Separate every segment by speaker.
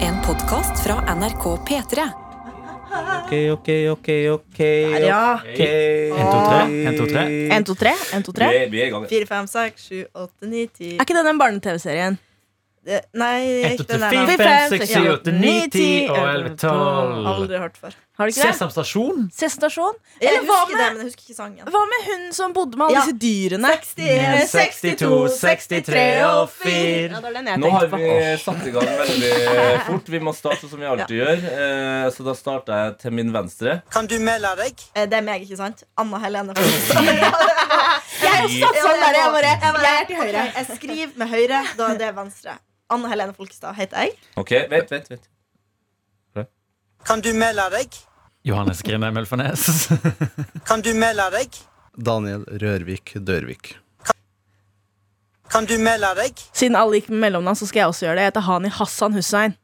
Speaker 1: podkast fra NRK P3.
Speaker 2: Ok, ok, ok, ok. Der,
Speaker 3: ja.
Speaker 2: En,
Speaker 4: to, tre. En, to, tre.
Speaker 3: 1, 2, 3. 1, 2, 3.
Speaker 2: Vi, er- vi er i gang.
Speaker 4: 4, 5, 6, 7, 8, 9, 10
Speaker 3: Er ikke det den barne-TV-serien?
Speaker 4: Eh, Nei,
Speaker 5: Ett,
Speaker 4: ikke
Speaker 5: åtte,
Speaker 4: den der.
Speaker 5: fire,
Speaker 4: da.
Speaker 3: fem,
Speaker 5: fem, seks,
Speaker 3: seks,
Speaker 5: sju,
Speaker 3: ja.
Speaker 5: åtte, ni, ti og elleve, tolv.
Speaker 4: Aldri hørt før.
Speaker 3: Har du ikke det?
Speaker 5: Sesam stasjon.
Speaker 3: Sestasjon?
Speaker 4: Jeg
Speaker 3: Eller Eh, hva
Speaker 4: husker det,
Speaker 3: med,
Speaker 4: men jeg husker ikke sangen.
Speaker 3: hva med hun som bodde med alle
Speaker 4: Ja. eh,
Speaker 3: disse dyrene?
Speaker 4: 61,
Speaker 5: 62, 63 og 4.
Speaker 3: Ja, det var den jeg
Speaker 2: Nå har
Speaker 3: tenkte
Speaker 2: vi
Speaker 3: på.
Speaker 2: satt i gang veldig fort. Vi må starte sånn som vi alltid gjør. Eh, Så da starter jeg til min venstre.
Speaker 6: Kan du melde deg?
Speaker 4: Eh, Det er meg, ikke sant? Anna Helene.
Speaker 3: Jeg satt
Speaker 4: Ja, det
Speaker 3: sånn der,
Speaker 4: var-
Speaker 3: jeg bare
Speaker 4: jeg bare-
Speaker 3: Jeg er til høyre.
Speaker 4: ok, Jeg skriver med høyre, da er det venstre. Anna Helene Folkestad heter jeg.
Speaker 2: Ok, vent, vent, vent.
Speaker 6: Kan du melde deg?
Speaker 5: Johannes Grine Mølfernes.
Speaker 6: Kan du melde deg?
Speaker 7: Daniel Rørvik Dørvik.
Speaker 6: Kan du melde deg?
Speaker 3: Siden alle gikk med mellomnavn, så skal jeg også gjøre det. Jeg heter Hani Hassan Hussein.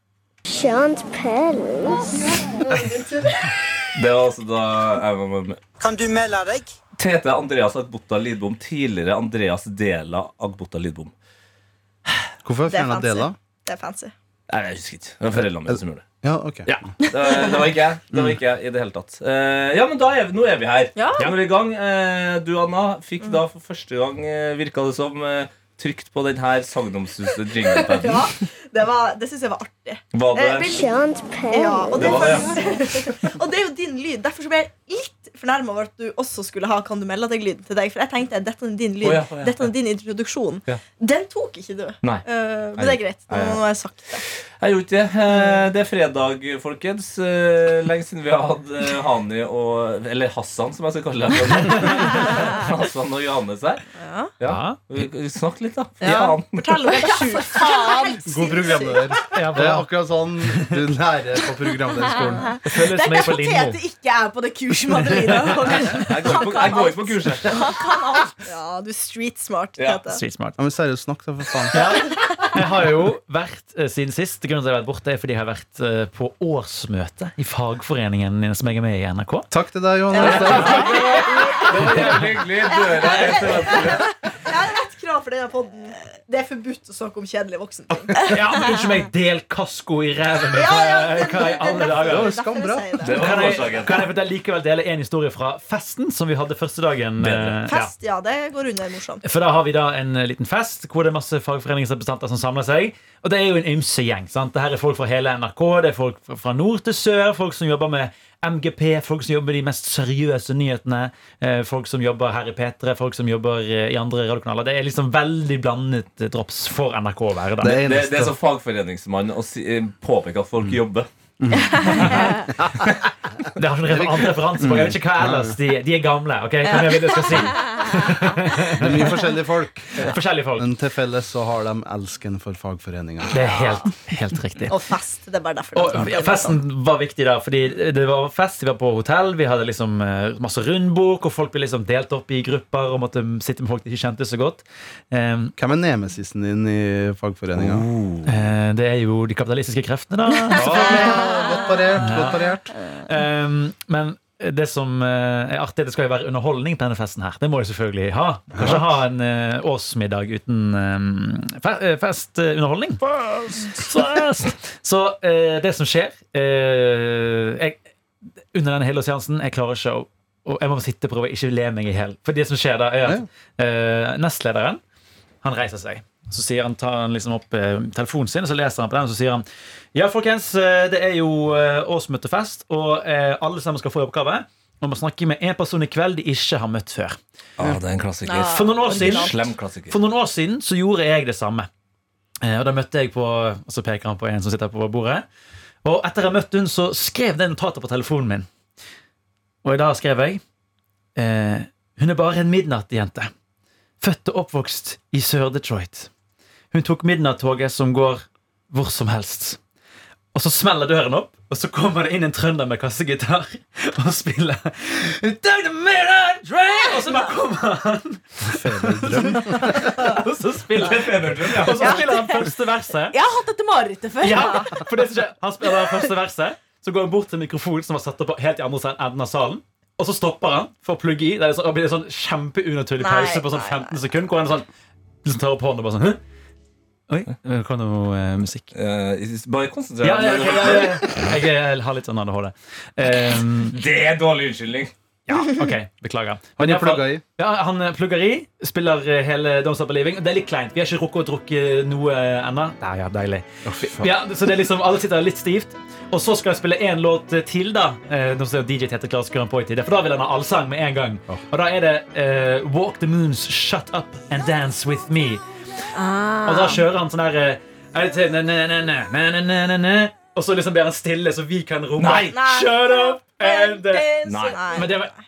Speaker 8: Skjønt pels.
Speaker 2: Det var altså da jeg var med.
Speaker 6: Kan du melde deg?
Speaker 2: Tete Andreas Agbota Lidbom. Tidligere Andreas Dela Agbota Lidbom.
Speaker 7: Hvorfor
Speaker 4: Det er
Speaker 7: fjerna
Speaker 4: fancy.
Speaker 7: dela?
Speaker 4: Det er fancy.
Speaker 2: Nei, jeg husker ikke. Det var foreldrene mine som gjorde det.
Speaker 7: Ja, ok.
Speaker 2: Ja. Det var- det var ikke jeg. Det var ikke jeg i det hele tatt. Eh, Ja, men da er vi, nå er vi her.
Speaker 3: Ja.
Speaker 2: Nå er vi i gang. Eh, Du, Anna, fikk da for første gang, eh, virka det som, eh, trykt på den her sagnomsuste jinglepaden.
Speaker 4: Ja, det var- det syns jeg var artig.
Speaker 2: Var
Speaker 4: Eh,
Speaker 2: det
Speaker 4: vil-
Speaker 8: Skjønt
Speaker 4: Ja,
Speaker 8: pels.
Speaker 4: og det,
Speaker 2: Det
Speaker 4: er
Speaker 2: var det,
Speaker 4: faktisk- og det er jo din lyd. Derfor så ble jeg litt fornærma over at du også skulle ha Kan du melde deg-lyden til deg. For jeg tenkte dette er din lyd.
Speaker 2: Å ja, å ja,
Speaker 4: dette er din introduksjon.
Speaker 2: Ja.
Speaker 4: Den tok ikke du.
Speaker 2: Nei.
Speaker 4: Eh, men det
Speaker 2: Nei.
Speaker 4: er greit. Nå
Speaker 2: Nei, ja.
Speaker 4: har jeg sagt det.
Speaker 2: Jeg gjorde ikke det. Eh, Det er fredag, folkens. Eh, Lenge siden vi har hatt eh, Hani og Eller Hassan, som jeg skal kalle deg. Hassan og Johannes her.
Speaker 4: Ja.
Speaker 2: Ja. Vi- vi Snakk litt, da.
Speaker 4: Ja.
Speaker 2: Faen.
Speaker 4: Fortell om det er sjukt.
Speaker 7: God programleder.
Speaker 5: Ja,
Speaker 7: Det er
Speaker 5: bra.
Speaker 7: akkurat sånn du lærer på programlederskolen.
Speaker 5: Det føles
Speaker 3: Det
Speaker 5: som jeg er
Speaker 3: er
Speaker 5: på
Speaker 3: derfor
Speaker 5: Lindmo.
Speaker 3: Tete ikke er på det kurset med Adelina.
Speaker 2: Jeg går ikke på, jeg går ikke på kurset.
Speaker 4: Ja, du er street smart.
Speaker 2: Ja,
Speaker 4: Tete.
Speaker 5: Street smart.
Speaker 7: Ja, men seriøst, snakk, da, for faen.
Speaker 5: Ja. Jeg har jo vært eh, siden sist Grunnen til at jeg har vært borte er fordi jeg har vært eh, på årsmøte i fagforeningen som jeg er med i i NRK.
Speaker 7: Takk til deg, Johannes.
Speaker 2: Det var jævlig hyggelig. Døra er til venstre.
Speaker 4: Jeg har ett krav for denne podden. Det er forbudt å snakke om kjedelige voksne ting.
Speaker 5: Ja, men Unnskyld meg, del kasko i ræven min!
Speaker 4: Ja, ja,
Speaker 5: Hva-
Speaker 4: det-
Speaker 5: Hva i
Speaker 4: det-
Speaker 5: alle
Speaker 4: det-
Speaker 5: dager?
Speaker 7: var
Speaker 4: derfor
Speaker 7: skambra.
Speaker 4: jeg sier
Speaker 2: Det
Speaker 4: det.
Speaker 2: var
Speaker 5: Kan jeg,
Speaker 2: årsaken.
Speaker 5: kan jeg fortelle likevel dele en historie fra festen som vi hadde første dagen?
Speaker 2: Bedre.
Speaker 5: eh, ja.
Speaker 4: Fest, ja. Det går under morsomt.
Speaker 5: For da har vi da en eh, liten fest hvor det er masse fagforeningsrepresentanter som samler seg. Og det er jo en ymse gjeng. sant? Det her er folk fra hele NRK, det er folk fra- fra nord til sør, folk som jobber med MGP, folk som jobber med de mest seriøse nyhetene, eh, folk som jobber her i P3, folk som jobber eh, i andre radiokanaler. Det er liksom veldig blandet eh, drops for NRK å være der.
Speaker 7: Det er
Speaker 2: Det, det er
Speaker 7: eneste.
Speaker 2: som fagforeningsmann å si, eh, påpeke at folk jobber.
Speaker 5: Det har ikke noen annen referanse på. Jeg vet ikke hva ellers. De, de er gamle. ok? Hva mer vil jeg skal si?
Speaker 7: Det er mye forskjellige folk.
Speaker 5: Forskjellige folk.
Speaker 7: Men til felles så har de elsken for fagforeninga.
Speaker 5: Det er helt, helt riktig.
Speaker 4: Og fest. Det er bare derfor. det er
Speaker 5: Og
Speaker 4: smart.
Speaker 5: festen var viktig da, fordi det var fest, vi var på hotell, vi hadde liksom eh, masse rundbok, og folk ble liksom delt opp i grupper og måtte sitte med folk de ikke kjente så godt. Ehm,
Speaker 7: Hvem er nemesisen din i fagforeninga?
Speaker 5: eh, det er jo de kapitalistiske kreftene da.
Speaker 7: Godt parert. godt parert
Speaker 5: Ehm, men det som eh, er artig, det skal jo være underholdning på denne festen her. Det må jeg selvfølgelig ha. Kanskje ha en eh, årsmiddag uten eh, fe eh, festunderholdning. Fest! Så eh, det som skjer eh, jeg, Under denne hele seansen, jeg klarer ikke å og jeg må sitte og prøve å ikke le meg i hjel. For det som skjer da, er at eh, nestlederen han reiser seg. Så sier han, tar han liksom opp eh, telefonen sin og så leser han på den. Og så sier han Ja, folkens, eh, det er jo eh, årsmøtefest, og eh, alle sammen skal få i oppgave om å snakke med en person i kveld de ikke har møtt før.
Speaker 2: Ja, det er en klassiker.
Speaker 4: Ja.
Speaker 5: For noen år siden
Speaker 2: Slem klassiker.
Speaker 5: for noen år siden så gjorde jeg det samme. Eh, Og da møtte jeg på Og så peker han på en som sitter på bordet. Og etter jeg møtte hun, så skrev det notatet på telefonen min. Og i dag skrev jeg eh, Hun er bare en midnattjente. Født og oppvokst i Sør-Detroit. Hun tok midnattoget som går hvor som helst. Og så smeller døren opp, og så kommer det inn en trønder med kassegitar og spiller «Take the midnight train!» Og så bare kommer han og så spiller Og så spiller han første verset.
Speaker 3: Jeg har hatt dette marerittet før.
Speaker 5: Ja, for det som skjer, Han spiller det første verset, så går han bort til mikrofonen som var satt opp helt i andre enden av salen. Og så stopper han for å plugge i. Det er sånn, og blir en sånn kjempeunaturlig
Speaker 4: Nei,
Speaker 5: pause på sånn
Speaker 4: nei, nei.
Speaker 5: 15 sekunder. Hvor han sånn, liksom tar opp hånden og bare sånn «Hæ? Oi, det kom noe eh, musikk.
Speaker 2: Eh, bare konsentrer
Speaker 5: Ja, ja,
Speaker 2: deg.
Speaker 5: ok, ja, ja. Jeg har litt sånn ADHD. Um,
Speaker 2: Det er dårlig unnskyldning.
Speaker 5: ja, ok, beklager.
Speaker 7: Han er plugga i.
Speaker 5: Ja, Han eh, plugger i, spiller eh, hele Don't Stop Believing. og Det er litt kleint. Vi har ikke rukket å drukke noe eh, ennå. Der, ja, deilig. Ja, så det er liksom, Alle sitter litt stivt. Og så skal jeg spille én låt til, da. Eh, nå ser jeg DJ Tete Klaus Grønn Poiti. For da vil han ha allsang med en gang. Og da er det eh, Walk the Moons, Shut Up and Dance With Me. Og da kjører han sånn der eh, er det til- na, na, na, na, na, na, na, na, na. Og så liksom blir han stille, så vi kan romme.
Speaker 2: Nei.
Speaker 4: Nei.
Speaker 5: Shut up and eh,
Speaker 2: Nei.
Speaker 5: Men det var,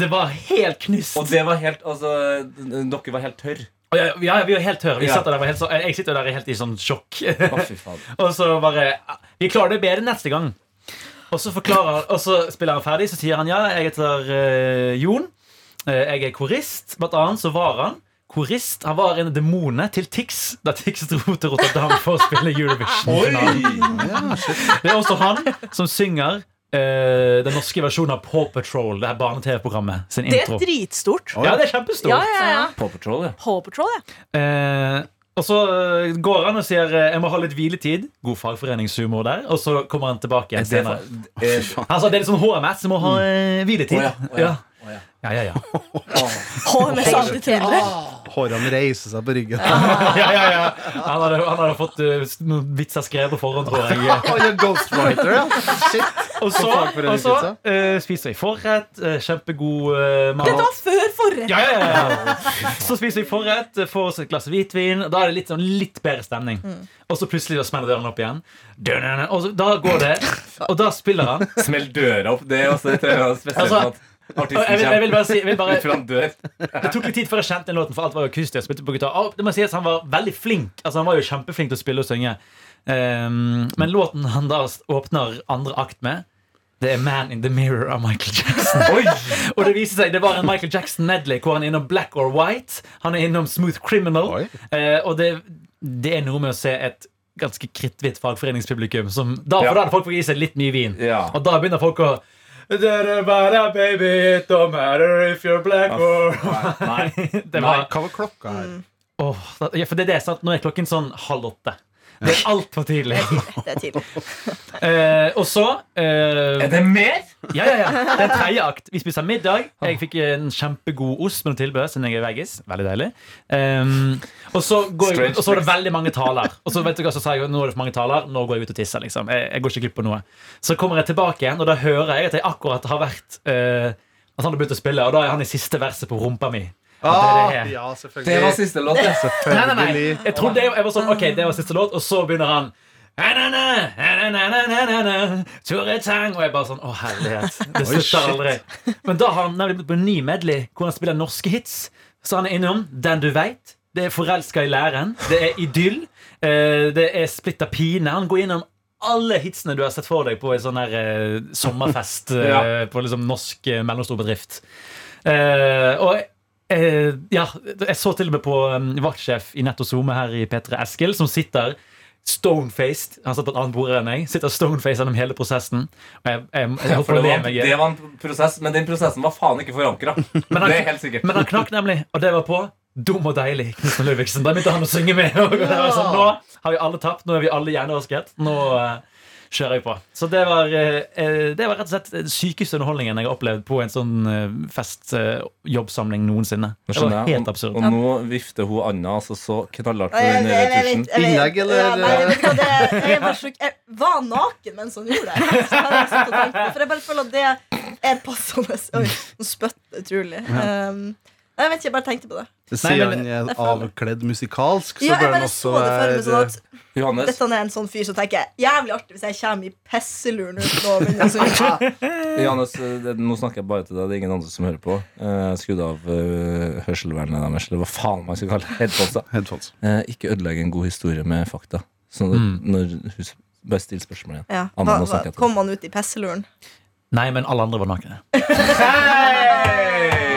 Speaker 5: det var helt knust.
Speaker 2: Og det var helt Altså, dere var helt tørr.
Speaker 5: Og Ja, ja, vi var helt tørre. Vi
Speaker 2: Ja.
Speaker 5: satt der, og var helt så, jeg sitter der helt i sånn sjokk.
Speaker 2: Å, fy faen.
Speaker 5: og så bare Vi klarer det bedre neste gang. Og så, forklarer, og så spiller han ferdig, så sier han ja, jeg heter eh, Jon. Eh, jeg er korist. Blant annet så var han korist. Han var en av demonene til Tix da Tix dro til Rotterdam for å spille Eurovision. Det er også han som synger eh, den norske versjonen av Paw Patrol, det her barne-TV-programmet, sin
Speaker 3: Det er
Speaker 5: intro.
Speaker 3: dritstort.
Speaker 5: Ja, det er kjempestort.
Speaker 3: Ja, ja, ja.
Speaker 2: Paw Patrol, ja.
Speaker 3: Paw Patrol, ja.
Speaker 5: Eh, og så eh, går han og sier eh, jeg må ha litt hviletid. God fagforeningshumor der. Og så kommer han tilbake igjen
Speaker 2: Det
Speaker 5: senere.
Speaker 2: var, eh,
Speaker 5: Han sa det er litt sånn HMS, jeg må ha eh, hviletid.
Speaker 2: Mm. Å ja, å ja, å
Speaker 5: ja.
Speaker 2: ja.
Speaker 5: Ja, ja, ja.
Speaker 3: HMS er alltid trøndere.
Speaker 4: Ah.
Speaker 7: Hårene reiser seg på ryggen.
Speaker 5: ja, ja, ja. Han, hadde, han hadde fått eh, noen vitser skrevet på forhånd, tror jeg.
Speaker 7: Han er ghostwriter, ja. Shit.
Speaker 5: Og så, og så
Speaker 7: fagforeningsvitser.
Speaker 5: eh, spiser vi forrett. eh, kjempegod eh, mat.
Speaker 4: Det var før forrett.
Speaker 5: Ja, ja, ja, ja. Så spiser vi forrett, eh, får oss et glass hvitvin. Da er det litt, sånn, litt bedre stemning.
Speaker 2: Mm.
Speaker 5: Og så plutselig da smeller døren opp igjen. Dun-dun-dun. Og så, da går det, og da spiller han.
Speaker 2: Smell døra opp. Det er også et eh, spesielt
Speaker 5: Altså,
Speaker 2: at artisten
Speaker 5: Og Jeg vil, jeg vil bare si jeg vil bare,
Speaker 2: Ut fra en dør.
Speaker 5: Det tok litt tid før jeg kjente den låten, for alt var jo akustisk. Jeg spilte på gitar. Og det må sies, han var veldig flink. Altså, han var jo kjempeflink til å spille og synge. Ehm, men låten han da åpner andre akt med, det er 'Man in the Mirror' av Michael Jackson. Og det viser seg, det var en Michael Jackson-medley hvor han er innom Black or White. Han er innom Smooth Criminal.
Speaker 7: Oi.
Speaker 5: Eh, og det, det er noe med å se et ganske kritthvitt fagforeningspublikum som Da, for
Speaker 2: Ja.
Speaker 5: da hadde folk fått i seg litt mye vin.
Speaker 2: Ja.
Speaker 5: Og da begynner folk å Dere bare, baby, it don't matter if you're black or
Speaker 2: Nei.
Speaker 5: det
Speaker 7: Nei,
Speaker 5: var,
Speaker 7: hva var klokka her?
Speaker 5: Åh, da- ja, for det er det, sant? Nå er klokken sånn halv åtte. Det er altfor tidlig.
Speaker 4: Det er tidlig.
Speaker 5: Eh, og så eh,
Speaker 2: Er det mer?
Speaker 5: Ja, ja, ja. Det er tredje akt. Vi spiser middag. Jeg fikk en kjempegod ost med noe tilbehør siden jeg er veggis. Veldig deilig. Ehm, og, så går jeg,
Speaker 2: Strange
Speaker 5: og så var det veldig mange taler. Og så vet du hva, så sa jeg nå er det for mange taler. Nå går jeg ut og tisser. liksom. Jeg, jeg går ikke glipp av noe. Så kommer jeg tilbake igjen, og da hører jeg at jeg akkurat har vært eh, At han har begynt å spille, og da er han i siste verset på rumpa mi.
Speaker 7: Ah,
Speaker 5: det er det.
Speaker 7: ja,
Speaker 2: Det var
Speaker 7: selvfølgelig.
Speaker 2: siste låt. det.
Speaker 5: Nei, nei, nei.
Speaker 7: Selvfølgelig.
Speaker 5: Jeg trodde jeg, jeg var sånn, ok, det var siste låt Og så begynner han «Na-na-na, na-na-na-na-na-na, Tore Tang Og jeg bare sånn, å herlighet Det slutter aldri Men da har han nemlig blitt på en ny medley Hvor han spiller norske hits Så han er innom Den du vet Det er Forelska i læren Det er Idyll eh, Det er Splitter Pine Han går innom alle hitsene du har sett for deg På en sånn her eh, sommerfest eh,
Speaker 2: Ja.
Speaker 5: På liksom norsk eh, mellomstor bedrift Eh, og eh, ja, jeg så til og med på um, vaktsjef i Netto SoMe her i P3 Eskil, som sitter stonefaced. Han satt på et annet bord enn jeg. Sitter stonefaced gjennom hele prosessen. Og jeg, jeg, jeg, holdt på
Speaker 2: For
Speaker 5: å
Speaker 2: det
Speaker 5: le
Speaker 2: var,
Speaker 5: meg i-
Speaker 2: det var en prosess, men den prosessen var faen ikke forankra.
Speaker 5: han-
Speaker 2: Det er helt sikkert.
Speaker 5: Men han knakk nemlig, og det var på. Dum og deilig, Knutsen Ludvigsen. Da begynte han å synge med. Og det var sånn, nå har vi alle tapt, nå er vi alle hjernevasket. Nå eh, kjører jeg på. Så det var, eh, eh, det var rett og slett den sykeste underholdningen jeg har opplevd på en sånn eh, fest eh, jobbsamling noensinne.
Speaker 2: Nå
Speaker 5: Det
Speaker 2: skjønner
Speaker 5: var
Speaker 2: jeg.
Speaker 5: helt absurd.
Speaker 2: Og nå vifter hun Anna altså, så knallhardt på
Speaker 4: Jeg-
Speaker 2: den
Speaker 4: jeg- jeg- jeg-
Speaker 2: retusjen.
Speaker 4: jeg- jeg-
Speaker 7: Innlegg, eller?
Speaker 4: Ja, nei, jeg, vet ikke hva det, er. jeg, var så, jeg var naken mens han gjorde det. Så hadde jeg satt og tenkt på, for jeg bare føler at det er passende. Oi, nå spytt utrolig. Um, jeg vet ikke, jeg bare tenkte på det.
Speaker 5: Nei,
Speaker 7: Siden
Speaker 5: men-
Speaker 7: han er avkledd musikalsk, så
Speaker 4: Ja, jeg
Speaker 7: bør han
Speaker 4: bare
Speaker 7: også
Speaker 4: så det for meg sånn at
Speaker 2: Johannes,
Speaker 4: Dette er en sånn fyr som tenker jævlig artig hvis jeg kommer i pisseluren uten å begynne å synge.
Speaker 2: Johannes, det, nå snakker jeg bare til deg. Det er ingen andre som hører på. Uh, Skrudd av uh, hørselvernet deres, eller hva faen man skal kalle det. Headphonesa.
Speaker 7: Headphones.
Speaker 2: Eh, ikke ødelegg en god historie med fakta. Så
Speaker 5: Mm.
Speaker 2: når hun s- bare still spørsmål igjen.
Speaker 4: Ja.
Speaker 2: Anna, nå
Speaker 4: Hva,
Speaker 2: snakker
Speaker 4: hva,
Speaker 2: jeg
Speaker 4: kom
Speaker 2: til deg.
Speaker 4: han ut i pisseluren?
Speaker 5: Nei, men alle andre var nakne.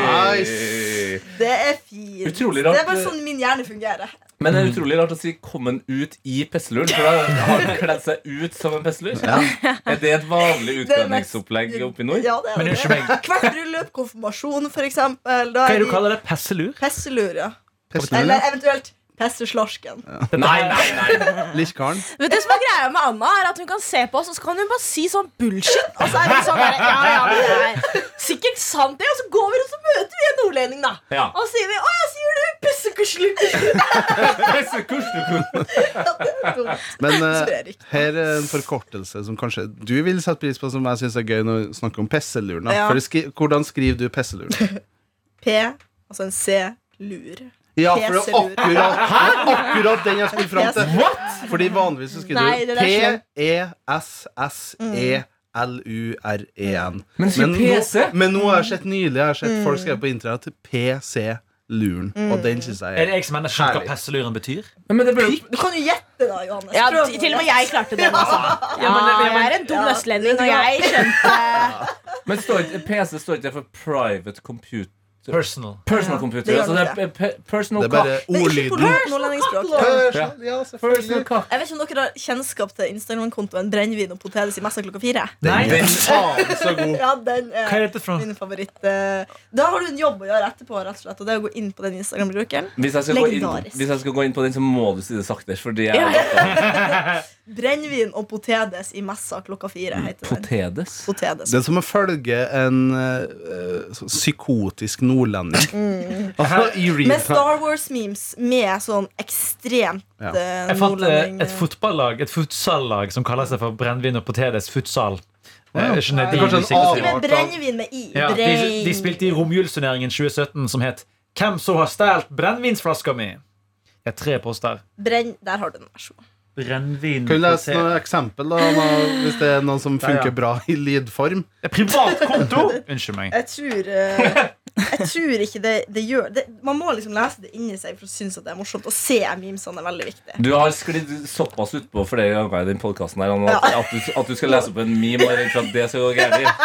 Speaker 7: Nice.
Speaker 4: Det er fint.
Speaker 2: Utrolig
Speaker 4: Det
Speaker 2: rart.
Speaker 4: er bare sånn min hjerne fungerer.
Speaker 2: Men
Speaker 5: Mm.
Speaker 2: det er utrolig rart å si 'kom en ut i pesseluren', for da har han kledd seg ut som en pesselur. Er det et vanlig
Speaker 4: Det er mest-
Speaker 2: utkledningsopplegg oppe i nord?
Speaker 4: Ja, det er
Speaker 5: Men det
Speaker 4: det.
Speaker 5: er ikke meg.
Speaker 4: Hvert bryllup, konfirmasjon, for eksempel. Da
Speaker 5: Hva er
Speaker 4: er
Speaker 5: det du
Speaker 4: de
Speaker 5: kaller det? Pesselur?
Speaker 4: pesselur, ja.
Speaker 7: Pestelur,
Speaker 4: Eller
Speaker 7: ja.
Speaker 4: eventuelt Pesteslorsken.
Speaker 2: Nei, nei, nei.
Speaker 7: Lichkaren.
Speaker 3: Vet du, det som er greia med Anna er at Hun kan se på oss og så kan hun bare si sånn bullshit. Og så er vi sånn der, ja, ja, men det er sikkert sant det Og så går vi og så møter vi en nordlending, da.
Speaker 2: Ja.
Speaker 3: Og så sier vi 'Å ja, sier du pussekuslukus'?
Speaker 7: Men eh,
Speaker 4: Sprer ikke.
Speaker 7: her er en forkortelse som kanskje du vil sette pris på, som jeg syns er gøy når vi snakker om pesselurna.
Speaker 4: Ja.
Speaker 7: For det skri hvordan skriver du pesselurna?
Speaker 4: P, altså en C, lur.
Speaker 7: Ja, for det er
Speaker 4: Peselur.
Speaker 7: akkurat, akkurat den jeg skulle fram til. Fordi vanligvis så
Speaker 4: Nei,
Speaker 7: skriver
Speaker 4: det
Speaker 7: du
Speaker 4: der skjønner.
Speaker 7: P-E-S-S-E-L-U-R-E-N.
Speaker 2: Men sier PC?
Speaker 7: Men nå har jeg sett nylig Jeg har sett folk
Speaker 4: Mm.
Speaker 7: skrive på internett PC-luren, og den syns
Speaker 5: Er
Speaker 7: jeg
Speaker 5: det jeg som menneske skjønner
Speaker 7: Herlig.
Speaker 5: hva pesseluren betyr?
Speaker 2: Men det burde
Speaker 4: Du kan jo gjette, da, Johannes.
Speaker 3: Ja,
Speaker 4: Prøv nå.
Speaker 3: til til og med jeg klarte den. Altså. Ja, jeg er en dum
Speaker 4: Ja,
Speaker 3: østlending, og
Speaker 4: ja.
Speaker 3: jeg skjønte
Speaker 2: Men står ikke, PC står ikke for private computer
Speaker 5: Personal.
Speaker 2: Personal
Speaker 4: Ja,
Speaker 2: computer.
Speaker 4: det gjør
Speaker 2: altså det
Speaker 4: det
Speaker 2: er pe- personal
Speaker 7: Det er bare
Speaker 2: cock.
Speaker 4: Men ikke
Speaker 7: ordlyden.
Speaker 4: på nordlendingsspråk.
Speaker 7: Personal, Ja,
Speaker 2: Personal
Speaker 7: selvfølgelig.
Speaker 2: cock.
Speaker 4: Jeg vet ikke om dere har kjennskap til Instagram-kontoen Brennevin og potetis i messa klokka fire?
Speaker 5: Nei,
Speaker 7: Den er faen så god.
Speaker 4: Ja, den
Speaker 5: Hva er
Speaker 4: er
Speaker 5: dette for noe?
Speaker 4: min favoritt. eh, Da har du en jobb å gjøre etterpå, rett og slett, og det er å gå inn på den Instagram-brukeren.
Speaker 2: Hvis jeg, skal gå inn,
Speaker 4: Legendarisk.
Speaker 2: hvis jeg skal gå inn på den, så må du si det sakte. Fordi jeg
Speaker 4: Brennevin og potetis i messa klokka fire heter den.
Speaker 2: Potedes?
Speaker 4: Potedes.
Speaker 7: Det er som å følge en eh, sånn psykotisk nordlending. Altså, i real
Speaker 4: Med
Speaker 7: time.
Speaker 4: Mm. Star Wars-memes med sånn ekstremt
Speaker 7: Ja.
Speaker 4: eh,
Speaker 5: Jeg fant eh,
Speaker 4: nordlending
Speaker 5: et fotballag, et futsallag som kaller seg for Brennevin og potetes futsal. Eh,
Speaker 7: Wow.
Speaker 5: skjønner de
Speaker 7: Det er kanskje en
Speaker 5: musikken som-
Speaker 7: annen-
Speaker 4: Skriver brennevin med i.
Speaker 5: Ja, de,
Speaker 4: Brenn-
Speaker 5: de spilte i romjulsturneringen 2017 som het Hvem som har stjålet brennevinsflaska mi? Det er tre poster.
Speaker 4: Brenn, Der har du den. Vær så god.
Speaker 5: Brennevin
Speaker 7: Kan du lese noen eksempel, da, nå, hvis det er noen
Speaker 5: Ja,
Speaker 7: som
Speaker 5: ja.
Speaker 7: funker bra i lydform?
Speaker 5: Privat konto! Unnskyld meg.
Speaker 4: Jeg tror, eh, jeg tror ikke det, det gjør det, Man må liksom lese det inni seg for å synes at det er morsomt. Å se memesene er veldig viktig.
Speaker 2: Du har sklidd såpass utpå flere ganger i den podkasten her Anna, at, at, du, at du skal lese opp en meme og er redd for at det skal gå gærent.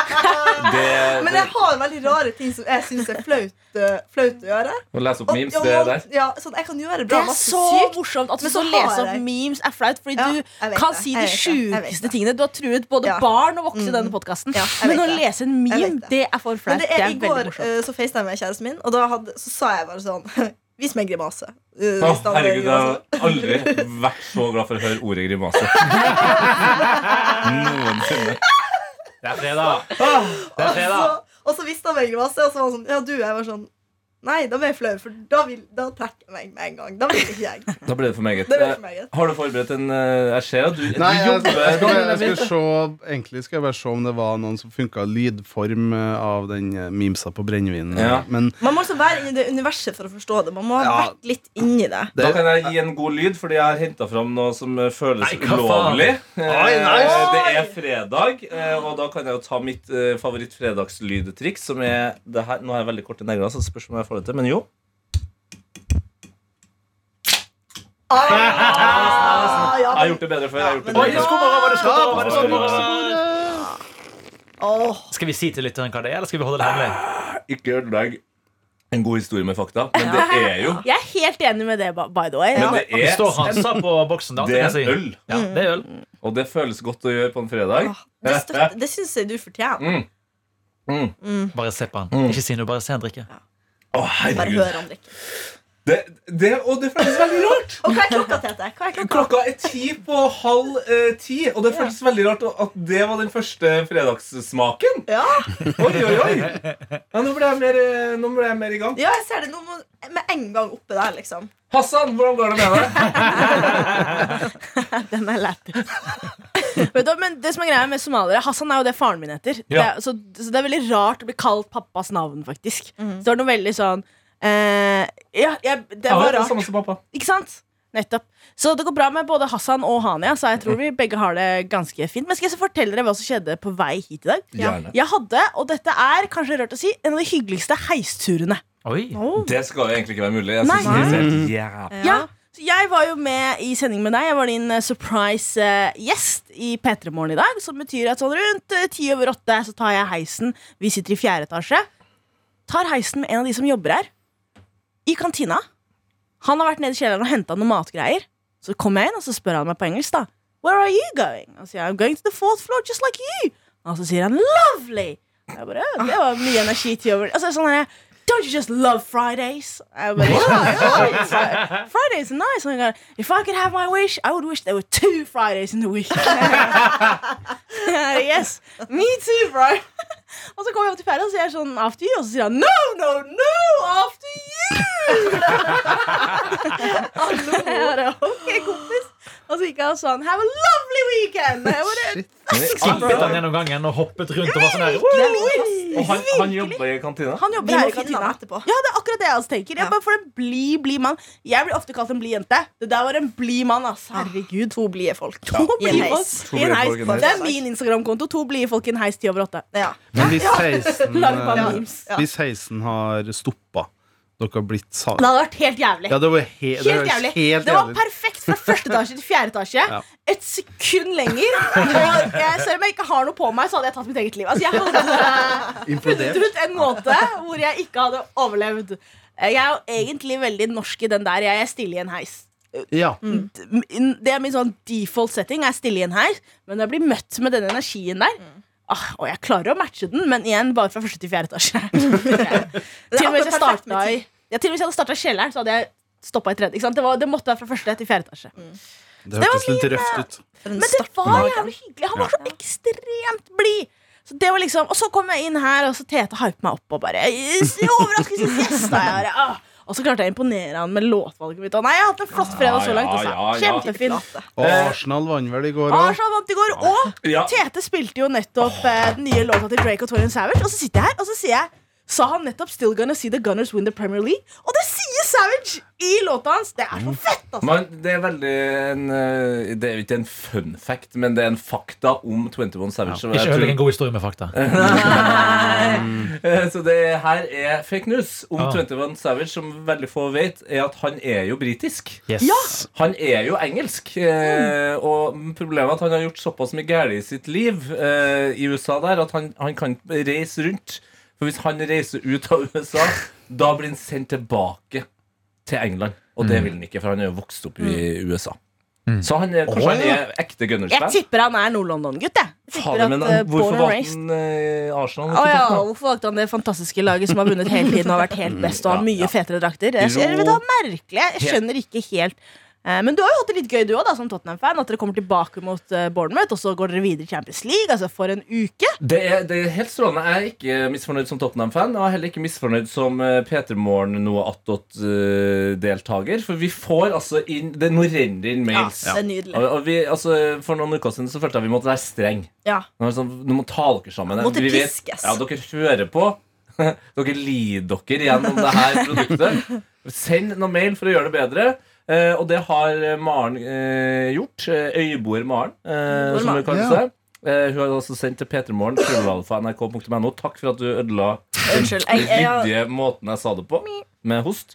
Speaker 2: Det,
Speaker 4: Men
Speaker 2: det,
Speaker 4: jeg har veldig rare ting som jeg syns er flaut, eh, flaut å gjøre.
Speaker 2: å lese opp
Speaker 4: Og-
Speaker 2: memes,
Speaker 4: ja,
Speaker 2: det der.
Speaker 4: ja, sånn, jeg kan gjøre
Speaker 3: Det
Speaker 4: bra
Speaker 3: er
Speaker 4: masse
Speaker 3: så
Speaker 4: sykt.
Speaker 3: morsomt at du
Speaker 4: Men så
Speaker 3: skal
Speaker 4: har
Speaker 3: lese opp
Speaker 4: jeg-
Speaker 3: memes er flaut, fordi
Speaker 4: Ja,
Speaker 3: du
Speaker 4: jeg vet
Speaker 3: kan
Speaker 4: det,
Speaker 3: si
Speaker 4: jeg
Speaker 3: de
Speaker 4: vet det, jeg vet
Speaker 3: sjukeste
Speaker 4: det.
Speaker 3: tingene. Du har truet både
Speaker 4: Ja.
Speaker 3: barn og voksne i
Speaker 4: Mm.
Speaker 3: denne podkasten.
Speaker 4: Ja, jeg vet
Speaker 3: men å
Speaker 4: det.
Speaker 3: lese en meme,
Speaker 4: vet det.
Speaker 3: det. er for
Speaker 4: Men
Speaker 3: flaut.
Speaker 4: det
Speaker 3: Det
Speaker 4: er,
Speaker 3: er
Speaker 4: I
Speaker 3: veldig
Speaker 4: går
Speaker 3: morsomt.
Speaker 4: eh, så facetimet jeg kjæresten min, og da hadde, så sa jeg bare sånn Vis meg en grimase.
Speaker 2: Å,
Speaker 4: eh, hvis han-
Speaker 2: herregud, jeg har
Speaker 4: altså.
Speaker 2: aldri vært så glad for å høre ordet grimase. Noensinne.
Speaker 5: Det er fredag. Det er
Speaker 4: Og
Speaker 5: fredag.
Speaker 4: så- Og så visste han meg masse, og så var han sånn Ja, du. Jeg var sånn Nei, da ble jeg flau, for da, vil, da trekker jeg meg med en gang. Da vil ikke jeg. Det
Speaker 2: Da ble det for meget.
Speaker 4: ble for
Speaker 2: Eh,
Speaker 4: meget.
Speaker 2: Har du forberedt en eh, Jeg ser at du,
Speaker 7: Nei,
Speaker 2: du
Speaker 7: jeg, jeg,
Speaker 2: jobber
Speaker 7: skulle, jeg skulle se Egentlig skal jeg bare se om det var noen som funka lydform eh, av den eh, memesa på brennevinen.
Speaker 2: Ja.
Speaker 7: Men
Speaker 4: Man må liksom være inni det universet for å forstå det. Man må ha
Speaker 7: Ja.
Speaker 4: vært litt inni
Speaker 2: Da
Speaker 4: det.
Speaker 7: det,
Speaker 2: kan jeg gi en god lyd, fordi jeg har henta fram noe som eh, føles
Speaker 5: Nei, hva faen?
Speaker 2: ulovlig.
Speaker 5: Oi, nei.
Speaker 2: Eh, Det er fredag, eh, og da kan jeg jo ta mitt eh, favoritt-fredagslydtriks, som er det her. Nå har jeg veldig korte negler, så det spørs om jeg får det til, men jo.
Speaker 4: Ah, ja,
Speaker 2: Jeg har
Speaker 4: men,
Speaker 2: gjort det bedre før. Jeg har gjort det
Speaker 5: Oi,
Speaker 4: men-
Speaker 5: det
Speaker 2: bedre.
Speaker 5: skummer over, det skummer over, det skummer over.
Speaker 7: Skål!
Speaker 4: åh,
Speaker 5: Skal vi si til lytteren hva det er, eller skal vi holde det
Speaker 2: Ah,
Speaker 5: hemmelig?
Speaker 2: Ikke ødelegg en god historie med fakta, men det er jo
Speaker 3: eh, Jeg er helt enig med det, by the way.
Speaker 2: Men det
Speaker 5: Det står
Speaker 2: er,
Speaker 5: Hansa på boksen. da,
Speaker 2: det er
Speaker 5: kan jeg si.
Speaker 2: øl,
Speaker 5: Ja, det er øl.
Speaker 4: Mm.
Speaker 2: og det føles godt å gjøre på en fredag.
Speaker 4: det støtter, det syns jeg du fortjener.
Speaker 2: Mm. Mm.
Speaker 5: Bare se på han. Ikke si noe, bare se han drikke.
Speaker 4: Ah,
Speaker 2: Å,
Speaker 4: Bare
Speaker 2: herregud.
Speaker 4: hør han drikke.
Speaker 2: Det, det, og det føles veldig rart.
Speaker 4: Og hva er klokka, Tete? Hva er klokka?
Speaker 2: Klokka er ti på halv eh, ti, og det føles veldig rart at det var den første fredagssmaken.
Speaker 4: Ja,
Speaker 2: Oi, oi, oi. Ja, nå, ble jeg mer, eh, nå ble jeg mer i gang.
Speaker 4: ja jeg ser det. Nå må, med en gang oppe der, liksom.
Speaker 2: Hassan, hvordan går det med deg?
Speaker 3: Den er lættis. Vet du, men det som er greia med somaliere Hassan er jo det faren min heter. Det
Speaker 5: Ja.
Speaker 3: er, så, så det er veldig rart å bli kalt pappas navn, faktisk. Så det var noe veldig sånn eh, Ja, jeg, det var
Speaker 2: det
Speaker 3: rart.
Speaker 2: samme som pappa.
Speaker 3: Ikke sant? Nettopp. Så det går bra med både Hassan og Hania, så jeg tror vi begge har det ganske fint. Men skal jeg så fortelle dere hva som skjedde på vei hit i dag?
Speaker 2: Gjerne.
Speaker 3: Jeg hadde, og dette er kanskje rørt å si, en av de hyggeligste heisturene.
Speaker 5: Oi.
Speaker 2: Det skal jo egentlig ikke være mulig. Jeg
Speaker 3: Nei.
Speaker 2: synes det er helt jævlig.
Speaker 3: Ja. Så jeg var jo med i sending med deg. Jeg var din eh, surprise eh, gjest i P3 Morgen i dag. Som betyr at sånn rundt eh, ti over åtte så tar jeg heisen. Vi sitter i fjerde etasje. Tar heisen med en av de som jobber her. I kantina. Han har vært nede i kjelleren og henta noen matgreier. Så kommer jeg inn, og så spør han meg på engelsk, da. Where are you going? Og så sier jeg, I'm going to the fourth floor, just like you. Og så sier han lovely. Og Jeg bare, «Ja, det var mye energi til over. Altså, sånn her, Don't you just love Fridays? I was like, "Yeah, it's like, Fridays are nice. And I go, if I could have my wish, I would wish there were two Fridays in the week. yes, me too, bro. Og så kommer jeg opp til Ferdig og så er jeg sånn after you, og så sier han no, no, no, after you! Hallo! Jeg bare, ok, kompis. Og så gikk han sånn have a lovely weekend! Og Jeg bare,
Speaker 5: Kippet han gjennom gangen og hoppet rundt og var sånn her
Speaker 3: det
Speaker 5: «Woo!»
Speaker 3: er fantastisk.
Speaker 2: Og han, han jobber i kantina?
Speaker 3: Han
Speaker 4: Vi
Speaker 3: jobber
Speaker 4: må
Speaker 3: her i
Speaker 4: finne
Speaker 3: kantina.
Speaker 4: ham etterpå.
Speaker 3: Ja, det er akkurat det jeg også tenker. Jeg
Speaker 4: Ja.
Speaker 3: bare for en bli, bli mann Jeg blir ofte kalt en blid jente. Det der var en blid mann. ass Herregud, to blide folk. To
Speaker 4: i en
Speaker 3: blide folk
Speaker 4: heis.
Speaker 2: To
Speaker 3: i en
Speaker 2: blide
Speaker 3: heis.
Speaker 2: folk i en heis.
Speaker 3: Det er min Instagram-konto. To blide folk i en heis ti over åtte.
Speaker 4: Ja.
Speaker 7: Men hvis heisen,
Speaker 3: Lag bare
Speaker 7: eh,
Speaker 3: memes.
Speaker 4: Ja.
Speaker 7: hvis heisen har stoppa, dere har blitt sa...
Speaker 3: Det hadde vært helt jævlig.
Speaker 7: Ja, det var he det
Speaker 3: Helt
Speaker 7: høres
Speaker 3: jævlig.
Speaker 7: helt
Speaker 3: det var
Speaker 7: jævlig ut.
Speaker 3: perfekt fra første etasje til fjerde etasje.
Speaker 7: Ja.
Speaker 3: Et sekund lenger. Og jeg, selv om jeg ikke har noe på meg, så hadde jeg tatt mitt eget liv. Altså, jeg hadde
Speaker 7: Implodert.
Speaker 3: funnet ut en måte hvor jeg ikke hadde overlevd. Eh, Jeg er jo egentlig veldig norsk i den der. Jeg er stille i en heis.
Speaker 7: Ja.
Speaker 3: Det er min sånn default setting. Jeg er stille i en heis, men jeg blir møtt med den energien der. Ah, og jeg klarer å matche den, men igjen bare fra første til fjerde etasje. til og med hvis jeg
Speaker 4: akkurat perfekt
Speaker 3: starta i ja, Til og med hvis jeg hadde starta i kjelleren, så hadde jeg stoppa i tredje. Ikke sant? Det, var, det måtte være fra første til fjerde etasje.
Speaker 7: Det hørtes litt
Speaker 3: eh,
Speaker 7: røft ut.
Speaker 4: For en
Speaker 3: Men det
Speaker 4: start på
Speaker 3: var
Speaker 4: dagen.
Speaker 3: jævlig hyggelig. Han var så ekstremt blid. Så det var liksom, Og så kom jeg inn her, og så Tete hypet meg opp og bare «Yes, Overraskelsesgjest! da!» Jeg bare, «Ah». Og så klarte jeg å imponere han med låtvalget mitt. Og Nei, jeg har hatt en flott fredag så langt. Altså.
Speaker 2: Ja, ja, ja.
Speaker 3: Kjempefin.
Speaker 7: Og Arsenal vant vel i går òg.
Speaker 3: eh, Arsenal vant i går, og
Speaker 2: Ja.
Speaker 3: Tete spilte jo nettopp eh, den nye låta til Drake og Torian Savage. Og så sitter jeg her, og så sier jeg Sa han nettopp 'Still gonna see the Gunners win the Premier League'? Og det sier Savage i låta hans! Det er så fett, altså!
Speaker 2: Men det er veldig en, eh, Det er jo ikke en fun fact, men det er en fakta om 21 Savage. som jeg
Speaker 5: Ikke ødelegg
Speaker 2: tror-
Speaker 5: en god historie med fakta.
Speaker 2: Eh, Så det her er fake news om
Speaker 5: Ah.
Speaker 2: 21 Savage, som veldig få vet, er at han er jo britisk.
Speaker 5: Yes.
Speaker 2: Han er jo engelsk, eh, og problemet er at han har gjort såpass mye galt i sitt liv eh, i USA der at han, han kan ikke reise rundt. For hvis han reiser ut av USA, da blir han sendt tilbake til England. Og det vil han ikke, for han er jo vokst opp i USA. Så han er, kanskje han er ekte
Speaker 3: Jeg
Speaker 2: Gunners-fan.
Speaker 3: tipper han er Nord-London-gutt, jeg. jeg. tipper
Speaker 2: Fader, men
Speaker 3: at, eh, born
Speaker 2: Hvorfor
Speaker 3: and
Speaker 2: valgte
Speaker 3: raised.
Speaker 2: han eh, Arsenal?
Speaker 3: Å ja, hvorfor valgte han det fantastiske laget som har vunnet hele tiden og har vært helt best og har mye fetere drakter? Jeg, jeg, vet, det er merkelig. Jeg skjønner ikke helt. Eh, Men du har jo hatt det litt gøy, du òg, som Tottenham-fan. At dere kommer tilbake mot eh, Bournemouth, og så går dere videre i Champions League. Altså For en uke!
Speaker 2: Det er, det er helt strålende. Jeg er ikke misfornøyd som Tottenham-fan. Og jeg er heller ikke misfornøyd som eh, P3 Morgen noe attåt-deltaker. eh, For vi får altså inn Det er noe renner inn mails.
Speaker 4: Ja, det er nydelig.
Speaker 2: Og, og vi, altså, for noen uker siden så følte jeg vi måtte være streng
Speaker 4: Ja.
Speaker 2: Nå er det sånn, nå må ta dere sammen.
Speaker 4: Måtte
Speaker 2: Vi vet-
Speaker 4: piskes.
Speaker 2: Ja, dere hører på. dere lider dere gjennom det her produktet. Send noen mail for å gjøre det bedre. Eh, og det har eh, Maren eh, gjort. Eh, Øyeboer Maren, eh, som hun kaller seg. Eh, hun har også sendt til p3morgen, nrk.no. Takk for at du ødela den
Speaker 4: Unnskyld. Jeg, jeg, jeg,
Speaker 2: ryddige måten jeg sa det på, med host.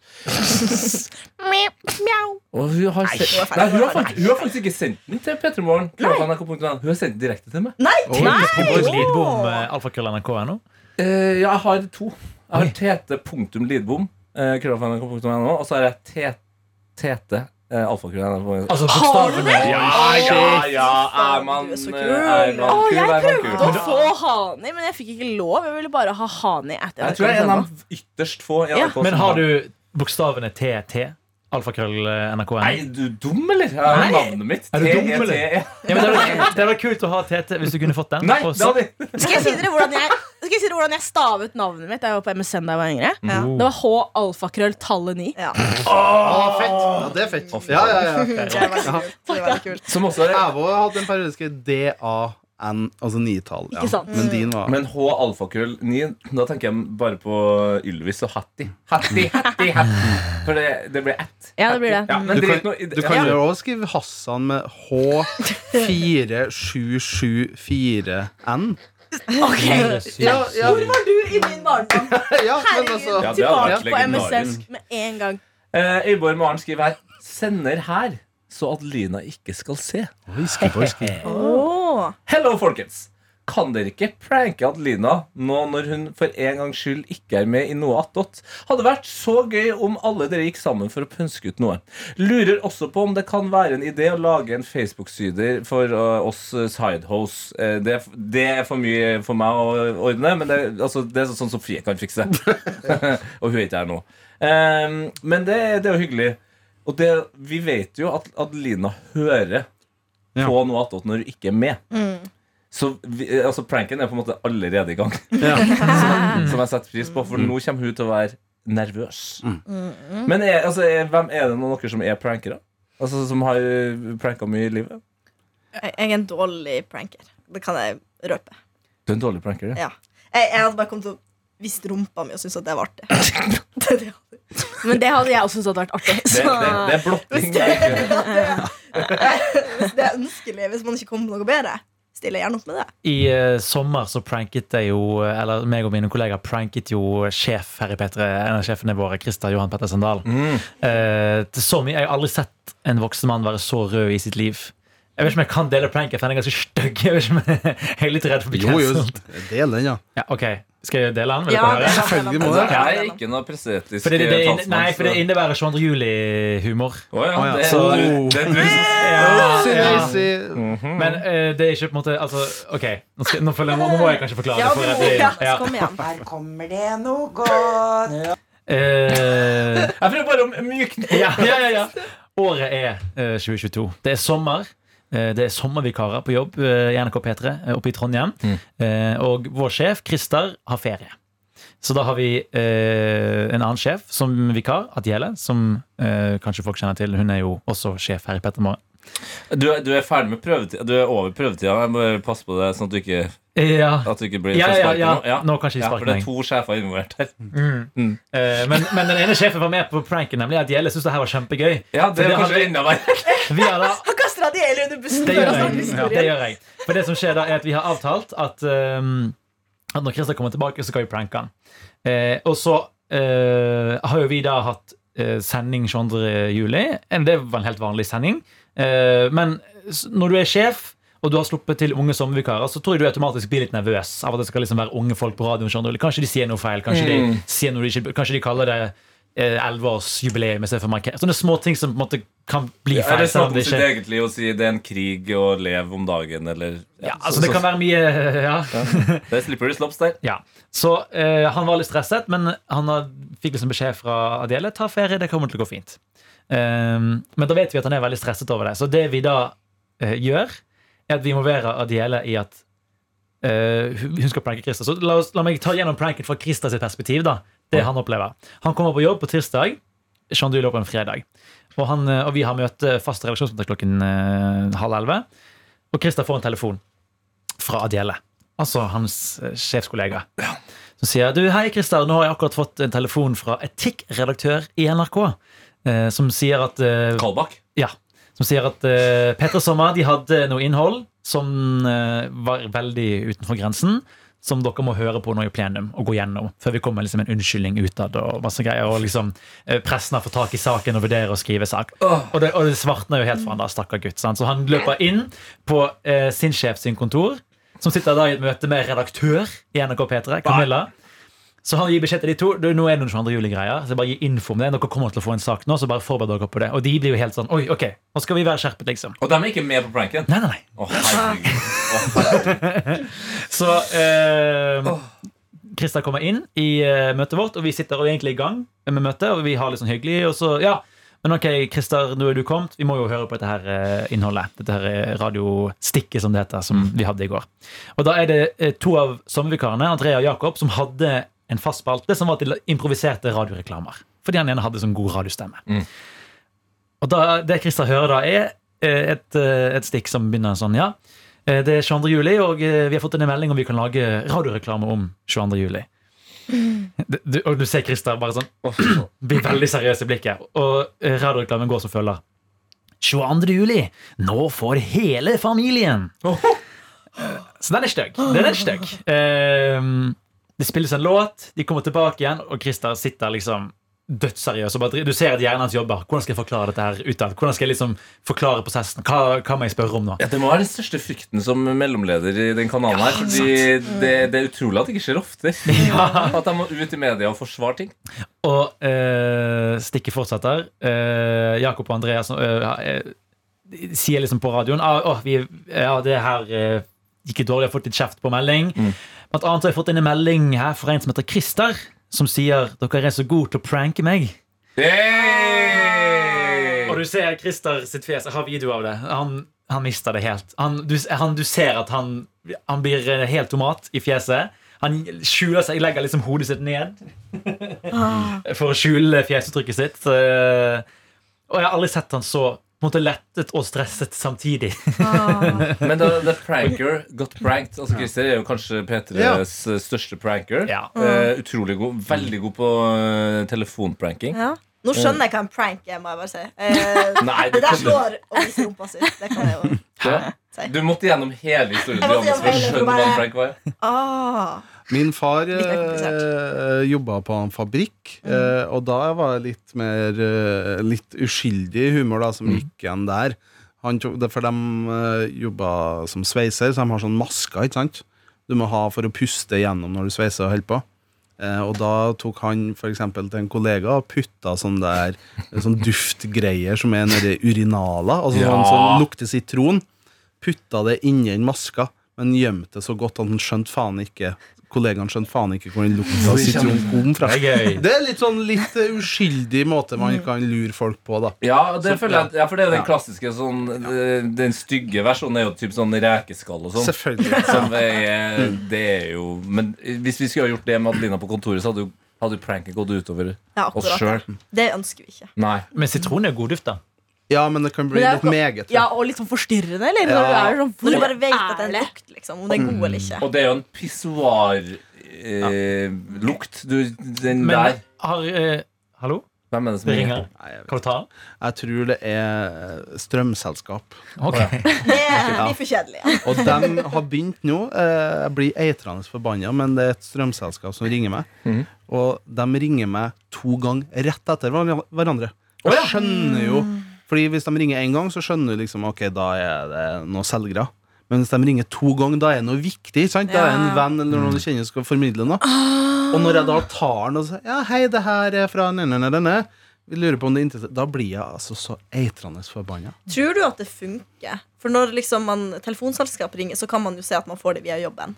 Speaker 3: Mjau.
Speaker 2: Og hun har,
Speaker 4: hun er
Speaker 2: sendt,
Speaker 4: ferdig.
Speaker 2: nei, hun har, faktisk, hun har faktisk ikke sendt den til p3morgen. Hun har sendt den direkte til meg.
Speaker 4: nei,
Speaker 7: Oi.
Speaker 5: Lydbom, lydbom eh, alfakrøll.nrk.no.
Speaker 2: Eh, ja, jeg har to. Jeg har tete.lidbom, eh, krøllfnrk.no, og så har jeg te- tete, eh, alfakrøll.nrk.no.
Speaker 5: Altså bokstavene.
Speaker 2: ja, ja, ja! Er man
Speaker 4: Du er så
Speaker 2: eh,
Speaker 4: kul.
Speaker 2: er man
Speaker 3: Å,
Speaker 2: kul,
Speaker 3: jeg
Speaker 2: er man
Speaker 3: prøvde å
Speaker 2: kul.
Speaker 3: få Hani, men jeg fikk ikke lov. Jeg ville bare ha Hani. At
Speaker 2: Jeg tror jeg er en av de ytterst få. i
Speaker 3: Ja.
Speaker 2: NRK som
Speaker 5: Men har du bokstavene TT? Alfakrøll eh, NRK.no?
Speaker 2: Nei, du er dum, eller? Jeg har jo navnet mitt. E
Speaker 5: Er du dum, eller?
Speaker 2: TETE.
Speaker 5: Ja, men det hadde det hadde vært kult å ha TT hvis du kunne fått den.
Speaker 2: Nei,
Speaker 5: Og
Speaker 2: det
Speaker 5: så-
Speaker 2: hadde jeg
Speaker 3: Skal jeg si dere hvordan jeg, skal jeg, si dere hvordan jeg stavet navnet mitt da jeg var på MSN da jeg var yngre?
Speaker 4: Ja.
Speaker 3: Det var H alfakrøll tallet 9.
Speaker 4: ja.
Speaker 7: Ah, fett. Ja, det er fett. Ja, ja, ja.
Speaker 4: Det er veldig kult. Det er veldig kult.
Speaker 2: Som også
Speaker 7: Jeg
Speaker 2: er
Speaker 7: har også hatt en periode som het DAN, altså nitall. Ja.
Speaker 3: Ikke sant?
Speaker 7: Men din var
Speaker 2: men H alfakrøll 9 Da tenker jeg bare på Ylvis og Hattie. Hattie, Hattie, Hattie. For det, det blir ett.
Speaker 3: Ja, det blir det.
Speaker 2: Ja, men
Speaker 7: Du
Speaker 2: drit
Speaker 7: kan-
Speaker 2: nå i det.
Speaker 7: Du kan
Speaker 2: Ja.
Speaker 7: jo også skrive Hassan med H4774N. Ja, ja,
Speaker 3: Hvor var du i min barndom?
Speaker 7: ja, men altså
Speaker 2: Ja, det hadde
Speaker 3: Tilbake
Speaker 2: vært
Speaker 3: på MSN
Speaker 2: legendarisk.
Speaker 3: med en gang.
Speaker 2: Eh, Øyborg Maren skriver her Sender her så at Lina ikke skal se
Speaker 7: Oi, skriv på, skriv på.
Speaker 4: Åh.
Speaker 2: Hello folkens Kan dere ikke pranke Adelina nå når hun for en gangs skyld ikke er med i noe attåt? Hadde vært så gøy om alle dere gikk sammen for å pønske ut noe. Lurer også på om det kan være en idé å lage en Facebook-syder for eh, oss eh, sidehose. Eh, det, det er for mye for meg å ordne, men det, altså, det er sånn Sofie kan fikse. Og hun er ikke her nå. Eh, men det, det er jo hyggelig. Og det, vi vet jo at Adelina hører
Speaker 7: Ja.
Speaker 2: på noe attåt når hun ikke er med. Så vi, altså pranken er på en måte allerede i gang, som, som jeg setter pris på. For nå kommer hun til å være nervøs. Men er, altså, er, hvem er det noen av dere som er prankere? Altså Som har eh, pranka mye i livet?
Speaker 4: Jeg jeg er en dårlig pranker. Det kan jeg røpe.
Speaker 2: Du er en dårlig pranker, ja.
Speaker 4: Ja. Jeg, jeg hadde bare kommet til å vise rumpa mi og syntes at det var artig. Det, er det, jeg hadde.
Speaker 3: Men det hadde jeg også syntes hadde vært artig.
Speaker 2: Det,
Speaker 3: Så
Speaker 2: det, det er blotting. det er ikke-
Speaker 4: Hvis det er ønskelig, hvis man ikke kommer på noe bedre, stiller jeg gjerne opp med det.
Speaker 5: I eh, sommer så pranket jeg jo eh, Eller meg og mine kolleger pranket jo sjef her i P3, en av sjefene våre, Christer Johan Pettersen Dahl.
Speaker 7: Mm.
Speaker 5: Eh, til så mye, Jeg har aldri sett en voksen mann være så rød i sitt liv. Jeg vet ikke om jeg kan dele pranken, for den er ganske stygg. Jeg, vet ikke om jeg, jeg er litt redd for å bli
Speaker 7: Jo, jo,
Speaker 5: cancelled.
Speaker 7: del den, ja.
Speaker 5: Ja, ok, Skal jeg dele den? Vil
Speaker 4: Ja,
Speaker 5: dere høre?
Speaker 4: det er
Speaker 7: Selvfølgelig må
Speaker 4: det.
Speaker 7: det.
Speaker 2: Jeg er ikke noe presetisk
Speaker 5: Fordi det, det,
Speaker 2: eh,
Speaker 5: inne- nei,
Speaker 2: talsmann,
Speaker 5: for det
Speaker 2: så-
Speaker 5: innebærer 22. juli-humor.
Speaker 2: Å ja,
Speaker 7: Å ja,
Speaker 2: det,
Speaker 7: så-
Speaker 2: det- det, det,
Speaker 5: Men eh, det er ikke på en måte altså, Ok, nå, skal, nå, føler jeg, nå må jeg kanskje forklare
Speaker 4: Ja,
Speaker 5: det.
Speaker 4: du
Speaker 5: For at
Speaker 4: må,
Speaker 5: det-
Speaker 4: ja,
Speaker 5: ja.
Speaker 4: kom igjen.
Speaker 5: Eh,
Speaker 2: Jeg prøver bare å mykne
Speaker 5: ja, ja, ja, ja. Året er eh, 2022. Det er sommer. Eh, Det er sommervikarer på jobb eh, i NRK P3 eh, oppe i Trondheim.
Speaker 2: Mm.
Speaker 5: Eh, Og vår sjef, Christer, har ferie. Så da har vi eh, en annen sjef som vikar, Adjele, som eh, kanskje folk kjenner til. Hun er jo også sjef her i P3 Morgen.
Speaker 2: Du, er- du er ferdig med prøvetida. Du er over prøvetida. Jeg må bare passe på det, sånn at du ikke,
Speaker 5: Ja,
Speaker 2: at du ikke blir
Speaker 5: ja,
Speaker 2: får
Speaker 5: ja,
Speaker 2: sparken
Speaker 5: ja.
Speaker 2: nå. Ja.
Speaker 5: Nå kan ikke de
Speaker 2: Ja,
Speaker 5: sparke
Speaker 2: for det er
Speaker 5: meg.
Speaker 2: to sjefer involvert her.
Speaker 5: Eh, Men, men den ene sjefen var med på pranken, nemlig Adjele. Syns det her var kjempegøy.
Speaker 2: Ja, det
Speaker 5: For
Speaker 2: er
Speaker 5: det
Speaker 2: kanskje
Speaker 5: hadde-
Speaker 2: enda verre.
Speaker 5: Vi har da
Speaker 4: Han kaster Adiel under bussen.
Speaker 5: Det
Speaker 4: for å
Speaker 5: gjør
Speaker 4: snakke
Speaker 5: jeg. Ja,
Speaker 4: historie.
Speaker 5: det gjør jeg. For det som skjer da, er at vi har avtalt at, ehm, at når Christer kommer tilbake, så skal vi pranke han. Eh, og så eh, har jo vi da hatt eh, sending 22. juli. Eh, Det var en helt vanlig sending. Eh, men s- når du er sjef, og du har sluppet til unge sommervikarer, så tror jeg du automatisk blir litt nervøs av at det skal liksom være unge folk på radioen. 22. juli. Kanskje de sier noe feil. Kanskje, de, sier noe de, ikke, kanskje de kaller det eh, 11-årsjubileum istedenfor markering. Sånne små ting som på en måte kan bli feil.
Speaker 2: Eller
Speaker 5: selv
Speaker 2: snakke om
Speaker 5: om det
Speaker 2: sitt
Speaker 5: ikke-
Speaker 2: eget liv og si det er en krig og lev om dagen, eller
Speaker 5: ja, altså Det kan være mye Ja.
Speaker 2: Det er slippery slopes der.
Speaker 5: ja. Så eh, han var litt stresset, men han har- fikk liksom beskjed fra Adele ta ferie, det kommer til å gå fint. Ehm, men da vet vi at han er veldig stresset over det. Så det vi da eh, gjør, er at vi involverer Adele i at eh, hun hun skal pranke Christer. Så la, oss, la meg ta gjennom pranken fra Christer sitt perspektiv. da Det han opplever. Han kommer på jobb på tirsdag. Jean Dulo på en fredag. Og, han, eh, og vi har møte fast redaksjonsmøte klokken eh, halv elleve. Og Christer får en telefon fra Adele, altså hans eh, sjefskollega, som sier du, hei Christer, nå har jeg akkurat fått en telefon fra etikkredaktør i NRK, eh, som sier at, eh,
Speaker 2: Kalbakk.
Speaker 5: ja, som sier at eh, Petra Sommer de hadde noe innhold som eh, var veldig utenfor grensen, som dere må høre på nå i plenum og gå gjennom, før vi kommer med liksom, en unnskyldning utad og masse greier, og liksom eh, pressen har fått tak i saken og vurderer å skrive sak. Og det, og det svartner jo helt for han da, stakkar gutt. Sant? Så han løper inn på eh, sin sjef sin kontor, som sitter da i et møte med redaktør i NRK P3, Camilla. Så han gir beskjed til de to. Du, nå er det noen 22. juli-greier. Så jeg bare gir info om det. Dere kommer til å få en sak nå, så bare forbered dere på det. Og de blir jo helt sånn Oi, ok, nå skal vi være skjerpet, liksom.
Speaker 2: Og de er ikke med på pranken.
Speaker 5: Nei, nei, nei.
Speaker 2: Å, herregud. Å, herregud.
Speaker 5: Så eh, Christer kommer inn i eh, møtet vårt, og vi sitter og er egentlig i gang med møtet. Og vi har litt sånn hyggelig, og så Ja, men ok, Christer, nå er du kommet. Vi må jo høre på dette her eh, innholdet. Dette her eh, radiostikket, som det heter, som vi hadde i går. Og da er det eh, to av sommervikarene, Andrea og Jakob, som hadde en fast spalte som var til improviserte radioreklamer. Fordi han ene hadde sånn god radiostemme. Og da, det Christer hører da, er eh, et, eh, et stikk som begynner sånn, ja. Eh, Det er 22. juli, og eh, vi har fått en melding om vi kan lage radioreklame om 22. juli. Det- Du, og du ser Christer bare sånn blir veldig seriøs i blikket. Og eh, radioreklamen går som følger. 22. juli. Nå får hele familien. Eh, Så den er stygg. Den er stygg. Ehm, Eh, Det spilles en låt, de kommer tilbake igjen, og Christer sitter liksom dødsseriøs. Og bare, dri- du ser at hjernen hans jobber. Hvordan skal jeg forklare dette her utad? Hvordan skal jeg liksom forklare prosessen? Hva, hva må jeg spørre om nå?
Speaker 2: Ja, Det må være den største frykten som mellomleder i den kanalen her. Fordi det, det er utrolig at det ikke skjer ofte. At de må ut i media og forsvare ting.
Speaker 5: Og eh, stikket fortsetter. Eh, Jakob og Andreas eh, eh, sier liksom på radioen ah, åh, vi, ja, det her eh, gikk litt dårlig, jeg har fått litt kjeft på melding. Blant annet har jeg fått inn en melding her fra en som heter Christer, som sier dere er så gode til å pranke meg.
Speaker 2: Hey!
Speaker 5: Og du ser Christer sitt fjes. Jeg har video av det. Han, han mister det helt. Han, du, han, du ser at han, han blir helt tomat i fjeset. Han skjuler seg, legger liksom hodet sitt ned for å skjule fjesuttrykket sitt. Eh, Og jeg har aldri sett han så på en måte lettet og stresset samtidig.
Speaker 2: Men da The Pranker got pranked. Altså Christer er jo kanskje P3s største pranker.
Speaker 5: Ja.
Speaker 2: Eh, utrolig god. Veldig god på eh, telefonpranking.
Speaker 4: Ja. Nå skjønner jeg hva en prank er, må jeg bare si. Eh,
Speaker 2: Nei, du
Speaker 4: det der
Speaker 2: kan-
Speaker 4: står og viser rumpa si. Det kan jeg jo.
Speaker 2: Ja.
Speaker 4: Sei.
Speaker 2: Du måtte gjennom hele historien
Speaker 4: Jeg
Speaker 2: til
Speaker 4: måtte
Speaker 2: Johannes for å
Speaker 4: gjennom hele,
Speaker 2: skjønne
Speaker 4: bare-
Speaker 2: hva en prank var.
Speaker 4: Ah.
Speaker 7: Min far
Speaker 4: Litt
Speaker 7: eh, jobba på en fabrikk, eh, og da var jeg litt mer eh, Litt uskyldig humor da som gikk igjen der. Han tok, det er for de eh, jobba som sveiser, så de har sånn masker ikke sant? du må ha for å puste gjennom når du sveiser og holder på. Eh, og da tok han for eksempel til en kollega og putta sånn der sånn duftgreier som er nedi urinaler, altså
Speaker 2: Ja.
Speaker 7: sånn som lukter sitron. Putta det inni den maska, men gjemte det så godt at han skjønte faen ikke kollegaen skjønte faen ikke hvor den lukta av sitron kom fra.
Speaker 5: Det er gøy.
Speaker 7: Det er litt sånn litt eh, uskyldig måte
Speaker 3: Mm.
Speaker 7: man kan lure folk på, da.
Speaker 2: Ja, det
Speaker 7: Så-
Speaker 2: føler jeg, at- ja, for det er jo den
Speaker 7: Ja.
Speaker 2: klassiske sånn, eh, Den stygge versjonen er jo typ sånn rekeskall og sånn.
Speaker 7: Selvfølgelig.
Speaker 2: Som er, det er jo Men hvis vi skulle ha gjort det med Adelina på kontoret, så hadde jo, hadde jo pranken gått utover
Speaker 4: Ja,
Speaker 2: oss
Speaker 4: akkurat.
Speaker 2: sjøl.
Speaker 4: Det ønsker vi ikke.
Speaker 2: Nei.
Speaker 5: Men sitron er jo godduft, da.
Speaker 7: Ja, men det kan bli
Speaker 3: Men det
Speaker 7: litt
Speaker 3: er
Speaker 7: meget.
Speaker 3: Ja, og litt sånn forstyrrende, eller?
Speaker 7: Ja.
Speaker 3: Når du er sånn,
Speaker 4: Når du
Speaker 3: hvor
Speaker 4: bare vet at det er
Speaker 3: er
Speaker 4: en
Speaker 3: det?
Speaker 4: lukt, liksom. Om det er god eller ikke.
Speaker 2: Og det er jo en pissoarlukt. Eh, lukt. Du, den
Speaker 5: Men
Speaker 2: der
Speaker 5: har eh, Hallo?
Speaker 2: Hvem er det som
Speaker 5: Det ringer.
Speaker 7: Nei, jeg vet
Speaker 5: Kan du ta den?
Speaker 7: ikke. Jeg tror det er strømselskap.
Speaker 5: Ok.
Speaker 4: Det blir for kjedelig. Ja.
Speaker 7: Og de har begynt nå. eh, Jeg blir eitrende forbanna, men det er et strømselskap som ringer meg. Og de ringer meg to ganger rett etter hver- hverandre. Og jeg skjønner jo Fordi hvis de ringer én gang, så skjønner du liksom Ok, da er det noen selgere. Men hvis de ringer to ganger, da er det noe viktig. Sant? Da er det en venn eller noen du kjenner skal formidle noe. Og når jeg da tar den og sier Ja, hei, det her er fra denne, denne, denne. Vi lurer på om det er interessant. Da blir jeg altså så eitrende forbanna.
Speaker 4: Tror du at det funker? For når liksom man, telefonselskap ringer, så kan man jo se at man får det via jobben.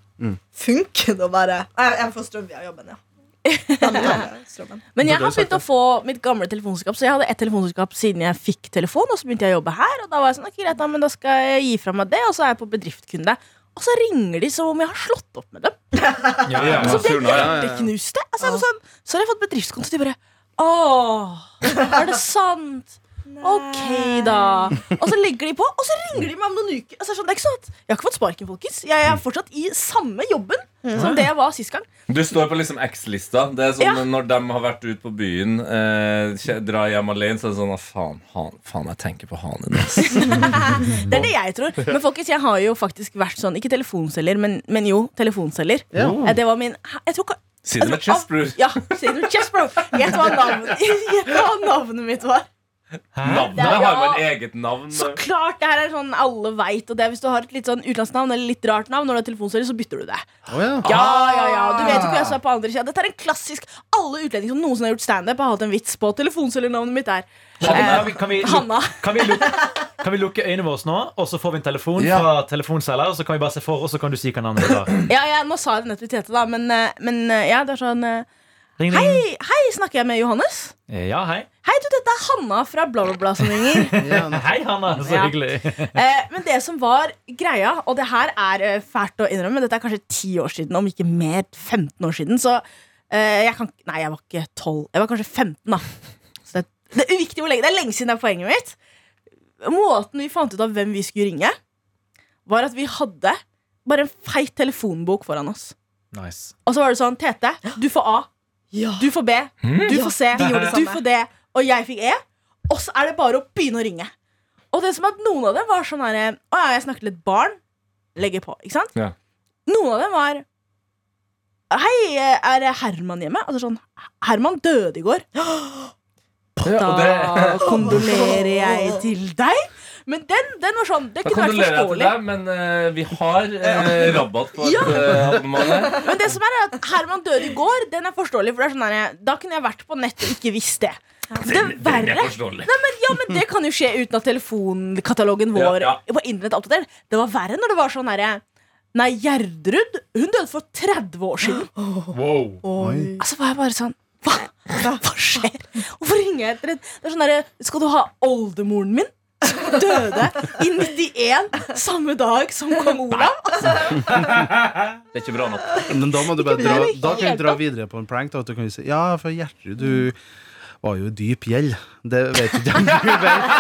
Speaker 4: Funker det å bare «Nei, Jeg får strøm via jobben, ja. Da må jeg ha strømmen.
Speaker 3: Men jeg har begynt å få mitt gamle telefonselskap. Så jeg hadde ett telefonselskap siden jeg fikk telefon, og så begynte jeg å jobbe her. Og da var jeg sånn, ok greit da, men da skal jeg gi fra meg det, og så er jeg på bedriftskunde. Og så ringer de som om jeg har slått opp med dem.
Speaker 5: Ja, ja.
Speaker 3: Så ble jeg
Speaker 2: surna, ja,
Speaker 3: hjerteknuste. Altså, jeg var sånn, så har jeg fått bedriftskonto, og de bare Åh, er det sant? Ok, da. Og så legger de på, og så ringer de meg om noen uker. Altså, jeg er sånn, det er ikke sånn at Jeg har ikke fått sparken, folkens. Jeg er fortsatt i samme jobben som det jeg var sist gang.
Speaker 2: Du står på liksom X-lista. Det er sånn
Speaker 3: Ja.
Speaker 2: Når de har vært ute på byen, eh, kje- drar hjem alene, så er det sånn ah, faen, han, faen, jeg tenker på han i natt.
Speaker 3: Det er det jeg tror. Men folkens, jeg har jo faktisk vært sånn Ikke telefonselger, men, men jo, telefonselger. Eh, Det var min Jeg tror ikke
Speaker 2: Sitter med chest, bror.
Speaker 3: Ja, sier du chest, bro? Gjett hva navnet, gjett hva navnet mitt var.
Speaker 2: Navnet
Speaker 3: Ja.
Speaker 2: har jo et eget navn.
Speaker 3: Så klart! Det her er sånn alle veit. Og det er hvis du har et litt sånn utenlandsnavn eller litt rart navn, når du er telefonselger, så bytter du det.
Speaker 7: Oh, ja.
Speaker 3: Ja, ja, ja, Du vet jo ikke hvem som er på andre sida. Dette er en klassisk Alle utlendinger som noensinne har gjort standup, har hatt en vits på telefonselgernavnet mitt er
Speaker 5: Kan vi, kan vi,
Speaker 3: Eh, Hanna.
Speaker 5: Kan vi, lukke, kan vi lukke øynene våre nå, og så får vi en telefon
Speaker 2: Ja.
Speaker 5: fra telefonselger, og så kan vi bare se for oss, så kan du si hva navnet ditt var.
Speaker 3: Ja, ja, nå sa jeg det nettopp til Tete, da, men, eh, men eh, ja, det er sånn eh,
Speaker 5: Ring, ring.
Speaker 3: Hei, hei, snakker jeg med Johannes?
Speaker 5: Ja, hei.
Speaker 3: Hei, du, dette er Hanna fra bla, bla, bla som ringer.
Speaker 7: Ja,
Speaker 5: Hei, Hanna. Så
Speaker 3: Ja.
Speaker 5: hyggelig.
Speaker 3: Eh, men det som var greia, og det her er eh, fælt å innrømme, dette er kanskje ti år siden, om ikke mer, 15 år siden, så eh, jeg kan Nei, jeg var ikke 12. Jeg var kanskje 15, da. Så det, det er uviktig hvor lenge. Det er lenge siden det er poenget mitt. Måten vi fant ut av hvem vi skulle ringe, var at vi hadde bare en feit telefonbok foran oss.
Speaker 5: Nice.
Speaker 3: Og så var det sånn, Tete, du får A. Du får B, du får C,
Speaker 4: det
Speaker 3: du
Speaker 4: samme.
Speaker 3: får D, og jeg fikk E. Og så er det bare å begynne å ringe. Og det som er at noen av dem var sånn her Å ja, jeg snakket til et barn. Legger på. Ikke sant?
Speaker 2: Ja.
Speaker 3: Noen av dem var Hei, er Herman hjemme? Og så er det sånn, Herman døde i går.
Speaker 2: Ja, og det,
Speaker 3: Da kondolerer jeg til deg. Men den, den var sånn, det
Speaker 2: da
Speaker 3: kunne vært
Speaker 2: kondolerer jeg til
Speaker 3: forståelig.
Speaker 2: deg, men eh, vi har eh, rabatt på
Speaker 3: Ja.
Speaker 2: et eh, abonnement her.
Speaker 3: Men det som er, er at Herman døde i går, den er forståelig. For det er sånn der, da kunne jeg vært på nett og ikke visst det. Det
Speaker 2: Den er
Speaker 3: verre
Speaker 2: forståelig.
Speaker 3: Nei, men, ja, men det kan jo skje uten at telefonkatalogen vår
Speaker 2: Ja,
Speaker 3: på internett er oppdatert. Det var verre når det var sånn herre Nei, Gjerdrud, hun døde for 30 år siden.
Speaker 7: Oi.
Speaker 3: Altså var jeg bare sånn Hva, hva skjer? Hvorfor ringer jeg etter en Det er sånn derre Skal du ha oldemoren min? Som døde i 91 samme dag som kong Olav?
Speaker 2: Det er ikke bra nok.
Speaker 7: Men da må du bare
Speaker 3: Ikke det
Speaker 7: dra,
Speaker 3: i det
Speaker 7: da kan
Speaker 3: hele
Speaker 7: du dra
Speaker 3: tatt.
Speaker 7: videre på en prank. Da, at du kan jo si Ja, for Gjertrud, du var jo i dyp gjeld. Det vet ikke jeg om du vet.